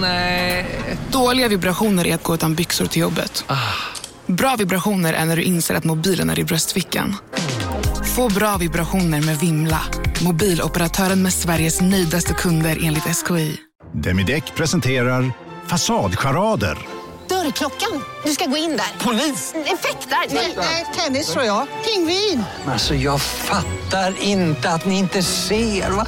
J: Nej. Dåliga vibrationer är att gå utan byxor till jobbet. Bra vibrationer är när du inser att mobilen är i bröstfickan. Få bra vibrationer med Vimla. Mobiloperatören med Sveriges nöjdaste kunder enligt SKI.
K: Demideck presenterar Fasadcharader.
L: Dörrklockan. Du ska gå in där. Polis? Effektar? Nej, tennis tror jag. Pingvin.
M: Alltså jag fattar inte att ni inte ser. Va?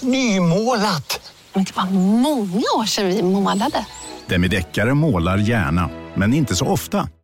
M: Nymålat.
N: Men det var många år sedan vi målade.
K: Demideckare målar gärna, men inte så ofta.